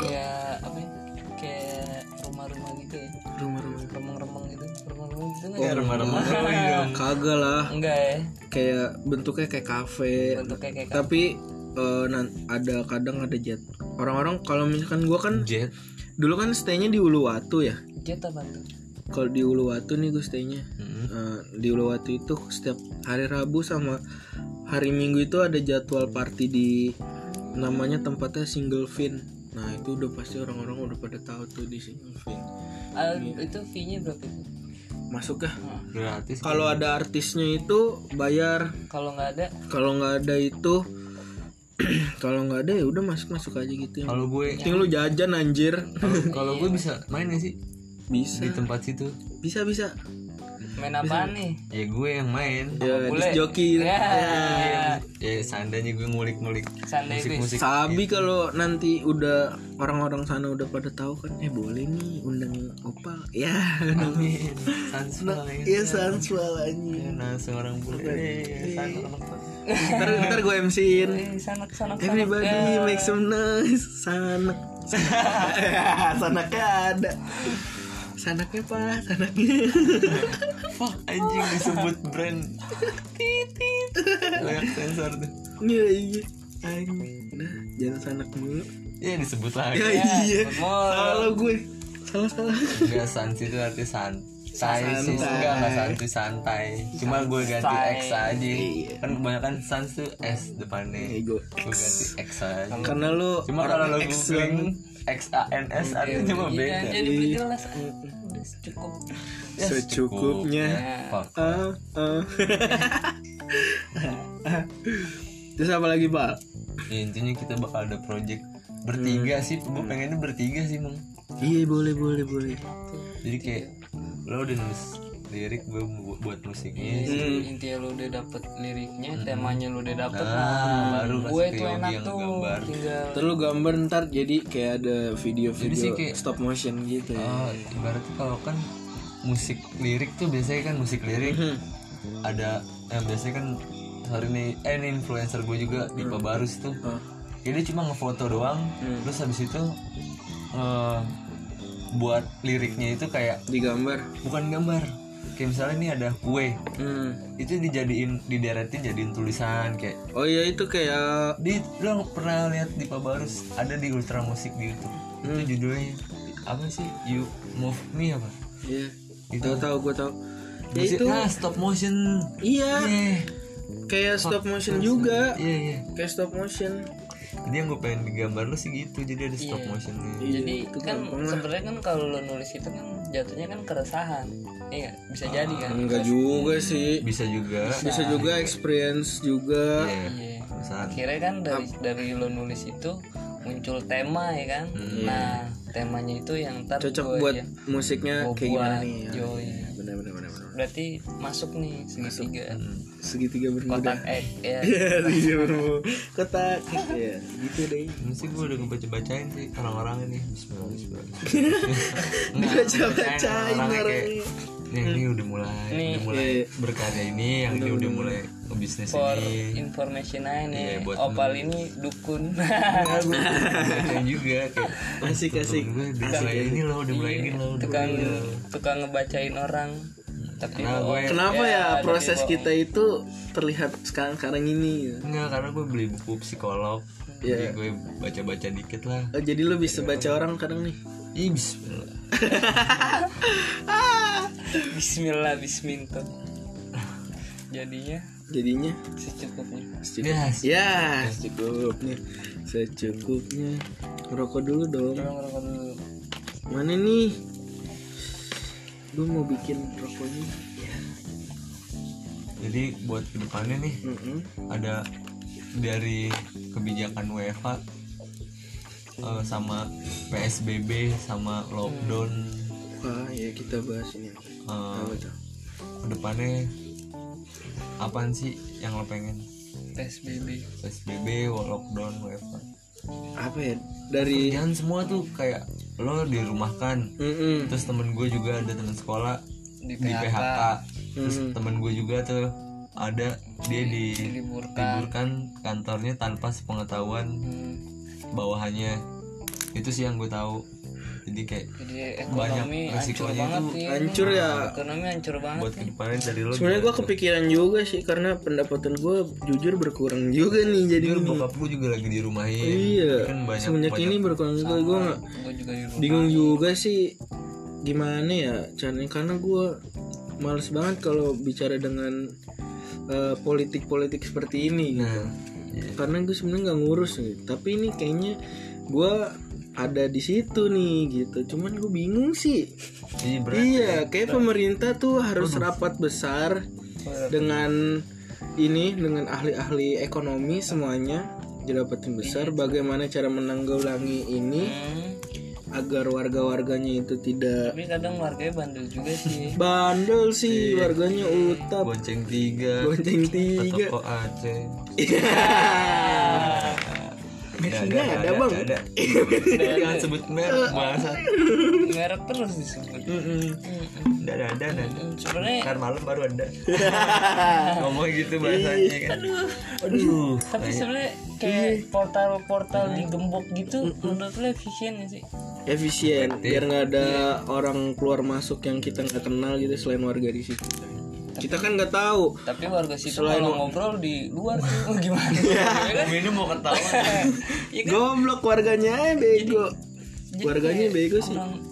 Speaker 2: kayak apa ya kayak rumah-rumah gitu ya
Speaker 3: Rumah-rumah.
Speaker 2: remeng-remeng gitu remeng-remeng gitu nggak
Speaker 3: Iya, Oh,
Speaker 1: Ya
Speaker 2: ya?
Speaker 1: remah-remah kali dong.
Speaker 3: Kagak lah,
Speaker 2: enggak ya
Speaker 3: kayak bentuknya kayak kafe.
Speaker 2: bentuknya kayak
Speaker 3: Tapi eh, nan- ada kadang ada jet. Orang-orang kalau misalkan gua
Speaker 1: Oh,
Speaker 3: kan
Speaker 1: iya. Jet.
Speaker 3: dulu kan stay-nya di Uluwatu ya.
Speaker 2: jet apa tuh
Speaker 3: Kalau di Uluwatu nih gue stay-nya.
Speaker 1: Hmm.
Speaker 3: Eh, di Uluwatu itu setiap hari Rabu sama hari Minggu itu ada jadwal party di namanya tempatnya Single Fin. Nah itu udah pasti orang-orang udah pada tahu tuh di Single Fin.
Speaker 2: Ah,
Speaker 3: Iya.
Speaker 2: itu fee nya berapa itu
Speaker 3: Masuk ya.
Speaker 1: Gratis.
Speaker 3: Kalau ada artisnya itu bayar.
Speaker 2: kalau nggak ada
Speaker 3: Kalau nggak ada itu kalau nggak ada ya udah masuk masuk aja gitu yang
Speaker 1: Kalau gue
Speaker 3: penting lu jajan anjir
Speaker 1: kalau- kalau gue bisa main gak sih
Speaker 3: bisa
Speaker 1: di
Speaker 2: Gitu.
Speaker 1: tempat situ?
Speaker 3: bisa bisa
Speaker 2: main apaan nih
Speaker 1: Ya gue yang main.
Speaker 3: ya
Speaker 2: Bule.
Speaker 3: disc joki
Speaker 2: ya,
Speaker 1: Ya seandainya gue ngulik-ngulik
Speaker 2: Seandainya gue-
Speaker 1: musik-musik.
Speaker 3: Sabi kalau nanti udah orang-orang sana udah pada tahu kan eh boleh nih undang Opal ya
Speaker 1: Amin. Sensual
Speaker 3: ya sensual anjing
Speaker 1: Langsung orang bule. Eh, sensual.
Speaker 3: ntar, ntar gue MCin
Speaker 2: Eh, sanak sanak sanak
Speaker 3: Everybody make some noise Sanak Sanaknya ada Sanaknya pak Sanaknya
Speaker 1: Fuck anjing disebut brand. Titit. Banyak sensor tuh.
Speaker 3: Iya iya Anjing. Nah jangan sanak mulu
Speaker 1: Ya disebut lagi.
Speaker 3: Ya iya Salah gue Salah salah
Speaker 1: Enggak sans itu arti san santai sih
Speaker 3: Santai.
Speaker 1: enggak enggak santai santai cuma gue ganti
Speaker 2: Santai.
Speaker 1: X aja
Speaker 3: Iya.
Speaker 1: kan kebanyakan sans tuh S depannya
Speaker 3: Ego
Speaker 1: gue ganti X aja
Speaker 3: Karena lu
Speaker 1: cuma
Speaker 3: Kan orang
Speaker 1: kalau lo
Speaker 3: X
Speaker 1: googling
Speaker 3: banget.
Speaker 1: X A N S artinya cuma
Speaker 2: Iya,
Speaker 1: beda
Speaker 2: jadi udah jelas udah cukup
Speaker 1: Ya,
Speaker 3: Secukupnya
Speaker 1: Fuck.
Speaker 3: Ah, ah. Terus apa lagi pak?
Speaker 1: Ya, intinya kita bakal ada project bertiga sih gue pengennya bertiga sih mang
Speaker 3: Iya boleh boleh boleh
Speaker 1: jadi kayak lo udah nulis lirik gue bu- buat
Speaker 2: Iya.
Speaker 1: musiknya
Speaker 2: intinya lu udah dapet liriknya temanya lu udah dapet
Speaker 1: nah baru
Speaker 2: gue
Speaker 1: kasih ke
Speaker 2: tuh
Speaker 1: Yogi
Speaker 2: enak
Speaker 1: yang
Speaker 2: tuh
Speaker 1: gambar
Speaker 2: tinggal
Speaker 3: Terus lu gambar ntar jadi kayak ada
Speaker 1: Jadi sih
Speaker 3: video-video
Speaker 1: kayak-
Speaker 3: stop motion gitu ya.
Speaker 1: Oh, ibaratnya kalau kan musik lirik tuh biasanya kan musik lirik ada yang biasanya kan hari ini eh ini influencer gue juga Dipa Barus tuh. Jadi cuma ngefoto doang, terus habis itu eh, buat liriknya itu kayak
Speaker 3: Digambar.
Speaker 1: bukan gambar. Kayak misalnya ini ada kue,
Speaker 3: Hmm.
Speaker 1: itu dijadiin dideretin jadiin tulisan kayak
Speaker 3: Oh iya itu kayak
Speaker 1: di lo pernah lihat di Pabarus ada di Ultra Musik di YouTube. Itu judulnya apa sih? You Move Me apa?
Speaker 3: ya
Speaker 1: Gitu,
Speaker 3: tahu tahu gue tahu. Ya
Speaker 1: Musik-
Speaker 3: itu
Speaker 1: nah, stop motion.
Speaker 3: iya
Speaker 1: Eh,
Speaker 3: kayak stop motion juga.
Speaker 1: Iya iya.
Speaker 3: Kayak stop motion.
Speaker 1: Jadi yang gue pengen digambar lu sih gitu, jadi ada stop motionnya.
Speaker 2: jadi kan sebenarnya kan kalau lu nulis itu kan jatuhnya kan keresahan iya bisa jadi kan
Speaker 3: Enggak juga sih.
Speaker 1: Bisa juga.
Speaker 3: Bisa juga experience juga.
Speaker 1: Iya.
Speaker 2: Iya.
Speaker 1: Pesan.
Speaker 2: akhirnya kan dari dari lo nulis itu muncul tema ya kan nah temanya itu yang ntar
Speaker 3: Cocok
Speaker 2: gua-
Speaker 3: buat
Speaker 2: ya,
Speaker 3: musiknya
Speaker 2: gua
Speaker 3: kayak gimana
Speaker 2: buat,
Speaker 3: nih? Ya.
Speaker 2: yoi.
Speaker 3: Benar benar benar benar.
Speaker 2: berarti masuk nih segitiga
Speaker 3: Segitiga bermuda.
Speaker 2: kotak X ya
Speaker 3: Iya, segitiga bermuda. Kotak. Iya, gitu deh.
Speaker 1: Mesti gue udah ngebaca-bacain sih orang-orang ini Bismillah, bismillah,
Speaker 3: Dibaca-bacain
Speaker 1: orangnya kayak,
Speaker 3: orangnya.
Speaker 1: Nih, ini udah mulai, udah mulai
Speaker 3: Iya.
Speaker 1: berkarya ini, yang ini udah mulai bisnis
Speaker 2: for
Speaker 1: ini
Speaker 2: information aja nih
Speaker 1: Iya, buat Iya.
Speaker 2: opal ini dukun
Speaker 1: Enggak, gue bacain juga kayak
Speaker 3: Asik asik.
Speaker 1: Gue udah mulai ini loh, udah mulai ini loh udah mulai
Speaker 2: tukang
Speaker 1: ini loh.
Speaker 2: tukang ngebacain orang tapi
Speaker 1: Iya. Nah,
Speaker 2: bohong.
Speaker 1: gue
Speaker 3: Kenapa
Speaker 2: Ya,
Speaker 3: ya,
Speaker 2: tapi
Speaker 3: proses
Speaker 2: bohong.
Speaker 3: kita itu terlihat sekarang-sekarang ini?
Speaker 1: Enggak, karena gue beli buku psikolog Jadi
Speaker 3: Iya.
Speaker 1: gue baca-baca dikit lah
Speaker 3: Oh, jadi lu bisa baca orang kadang nih.
Speaker 1: Ih, bismillah
Speaker 2: Bismillah Bismillah jadinya
Speaker 3: Jadinya
Speaker 2: secukupnya
Speaker 3: secukupnya.
Speaker 1: Yes
Speaker 3: Ya, secukupnya. Secukupnya. Rokok dulu dong.
Speaker 2: Tolong ngerokok dulu
Speaker 3: Mana nih? Gue mau bikin rokoknya. Ya.
Speaker 1: Jadi buat kedepannya nih
Speaker 3: Mm-mm.
Speaker 1: ada dari kebijakan WFA eh, sama PSBB sama lockdown
Speaker 3: Wah, ya kita bahas ini.
Speaker 1: eh,
Speaker 3: Hmm. Apa tuh?
Speaker 1: kedepannya apaan sih yang lo pengen
Speaker 2: PSBB
Speaker 1: PSBB lockdown WFA
Speaker 3: Apa ya? Dari
Speaker 1: kerjaan semua tuh kayak lo dirumahkan
Speaker 3: Mm-mm.
Speaker 1: terus temen gue juga ada temen sekolah
Speaker 2: Di
Speaker 1: di PHK, terus
Speaker 3: Mm.
Speaker 1: temen gue juga tuh ada dia di
Speaker 2: diliburkan
Speaker 1: liburkan kantornya tanpa sepengetahuan
Speaker 2: Hmm,
Speaker 1: bawahannya itu sih yang gue tahu jadi kayak
Speaker 2: jadi
Speaker 1: Banyak
Speaker 2: ekonomi hancur
Speaker 1: resikonya
Speaker 2: banget
Speaker 1: tuh
Speaker 2: ya
Speaker 3: hancur ya.
Speaker 2: ekonomi hancur banget
Speaker 1: buat kedepannya dari lo gitu.
Speaker 3: Sebenarnya gue kepikiran juga sih karena pendapatan gue jujur berkurang juga nih jadi
Speaker 1: jujur
Speaker 3: ini.
Speaker 1: bokap gue juga lagi di rumahin
Speaker 3: Iya.
Speaker 1: kan Iya, banyak
Speaker 3: Semenjak
Speaker 1: banyak
Speaker 3: ini berkurang juga gue nggak-
Speaker 2: gue juga di rumah
Speaker 3: bingung juga sih gimana ya caranya karena gue males banget kalau bicara dengan eh, politik-politik seperti ini gitu.
Speaker 1: nah iya.
Speaker 3: Karena gue sebenarnya nggak ngurus gitu. Tapi ini kayaknya gue ada di situ nih gitu. Cuman gue bingung sih.
Speaker 1: jadi berat
Speaker 3: Iya,
Speaker 2: kan
Speaker 3: kayak pemerintah tuh harus rapat besar dengan ini dengan ahli-ahli ekonomi semuanya Jedapatin besar bagaimana cara menanggulangi ini
Speaker 2: Hmm,
Speaker 3: agar warga-warganya itu tidak
Speaker 2: tapi kadang warganya bandel juga sih Iya.
Speaker 3: bandel sih warganya utap
Speaker 1: bonceng tiga
Speaker 3: Iya. bonceng tiga
Speaker 1: toko Aceh
Speaker 3: Merknya ada, Bang.
Speaker 1: ada. jangan sebut merek masa
Speaker 2: merek terus disebut
Speaker 1: nggak ada ada ada
Speaker 2: Hmm, sebenarnya
Speaker 1: ntar malam baru ada ngomong gitu bahasanya kan aduh
Speaker 2: tapi
Speaker 3: Iya.
Speaker 2: sebenarnya kayak portal-portal digembok gitu menurut lo efisien nggak sih
Speaker 3: efisien biar nggak ada
Speaker 2: Iya.
Speaker 3: orang keluar masuk yang kita nggak kenal gitu selain warga di situ kita kan nggak tahu
Speaker 2: tapi warga situ kalau ngobrol di luar tuh gimana
Speaker 3: Iya.
Speaker 2: Ya kan?
Speaker 1: minum mau ketawa
Speaker 2: Ya kan?
Speaker 3: goblok warganya aja bego
Speaker 2: Jadi
Speaker 3: warganya
Speaker 2: kayak
Speaker 3: bego sih
Speaker 2: orang-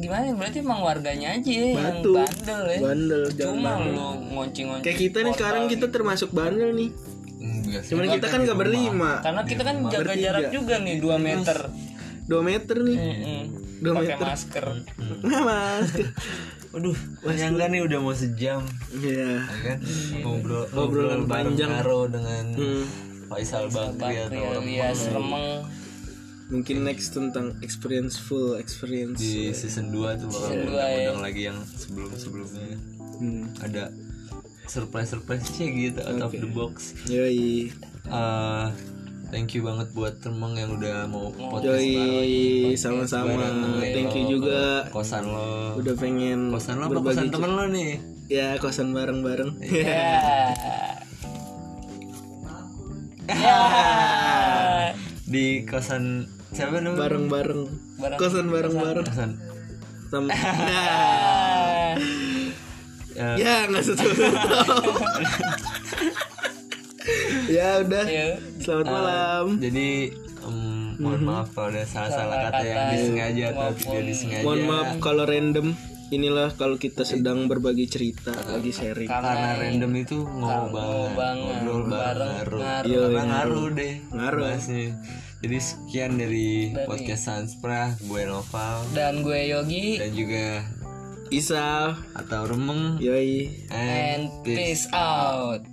Speaker 2: gimana ya? berarti emang warganya aja yang
Speaker 3: Batu.
Speaker 2: bandel ya
Speaker 3: bandel jangan
Speaker 2: cuma
Speaker 3: bandel.
Speaker 2: lu ngoncing-ngoncing
Speaker 3: kayak gitu. kita nih sekarang kita
Speaker 1: gitu.
Speaker 3: termasuk bandel nih
Speaker 1: Enggak sih.
Speaker 3: cuman kita kan nggak berlima
Speaker 2: karena kita
Speaker 3: Iya.
Speaker 2: kan jaga jarak juga nih 2 meter
Speaker 3: 2 meter nih
Speaker 1: Eh.
Speaker 2: Mm-mm.
Speaker 3: Dua
Speaker 2: pakai masker
Speaker 3: Mas.
Speaker 1: Aduh, yang gitu. nih udah mau sejam,
Speaker 3: Iya.
Speaker 1: ya kan? Ngobrol
Speaker 3: Obrolan
Speaker 1: ngobrol bareng
Speaker 3: panjang.
Speaker 1: Karo dengan
Speaker 3: Hmm,
Speaker 1: Faisal Bakri
Speaker 3: Iya,
Speaker 2: Iya,
Speaker 1: atau orang
Speaker 2: alias remeng
Speaker 3: mungkin next tentang experience full experience.
Speaker 1: di season 2 tuh bakal
Speaker 2: Season dua,
Speaker 1: undang-undang
Speaker 3: ya.
Speaker 1: lagi yang sebelum-sebelumnya
Speaker 3: Hmm.
Speaker 1: ada surprise-surprise sih gitu out of the box.
Speaker 3: Yoi.
Speaker 1: Eh, thank you banget buat Remeng yang udah mau podcast
Speaker 3: Iya. Yoi, sama-sama.
Speaker 1: bareng
Speaker 3: Thank you
Speaker 1: lo,
Speaker 3: juga
Speaker 1: kosan lo.
Speaker 3: udah pengen
Speaker 1: Kosan lo apa Iya. kosan temen lo nih?
Speaker 3: ya kosan bareng-bareng. Iya.
Speaker 2: ya
Speaker 1: Di kosan siapa namanya?
Speaker 3: Bareng-bareng.
Speaker 2: Bareng-
Speaker 3: Kosan bareng-bareng.
Speaker 1: Kosan
Speaker 3: Sama. Nah. ya, nggak sesuatu. ya udah.
Speaker 2: ya
Speaker 3: Selamat malam.
Speaker 1: Jadi em, mohon
Speaker 3: Mhm.
Speaker 1: maaf kalau ada salah-salah kata yang disengaja atau tidak disengaja.
Speaker 3: Mohon maaf kalau random. Inilah kalau kita sedang berbagi cerita lagi sharing.
Speaker 1: Karena random itu ngomong Nah, banget, ngobrol bareng, ngaruh. Karena ngaruh deh.
Speaker 3: Ngaruh.
Speaker 1: bahasnya. Jadi sekian dari, podcast Sanspra, gue Noval
Speaker 2: dan gue Yogi
Speaker 1: dan juga
Speaker 3: Isa,
Speaker 1: atau Remeng.
Speaker 3: yoi.
Speaker 1: And
Speaker 2: and peace out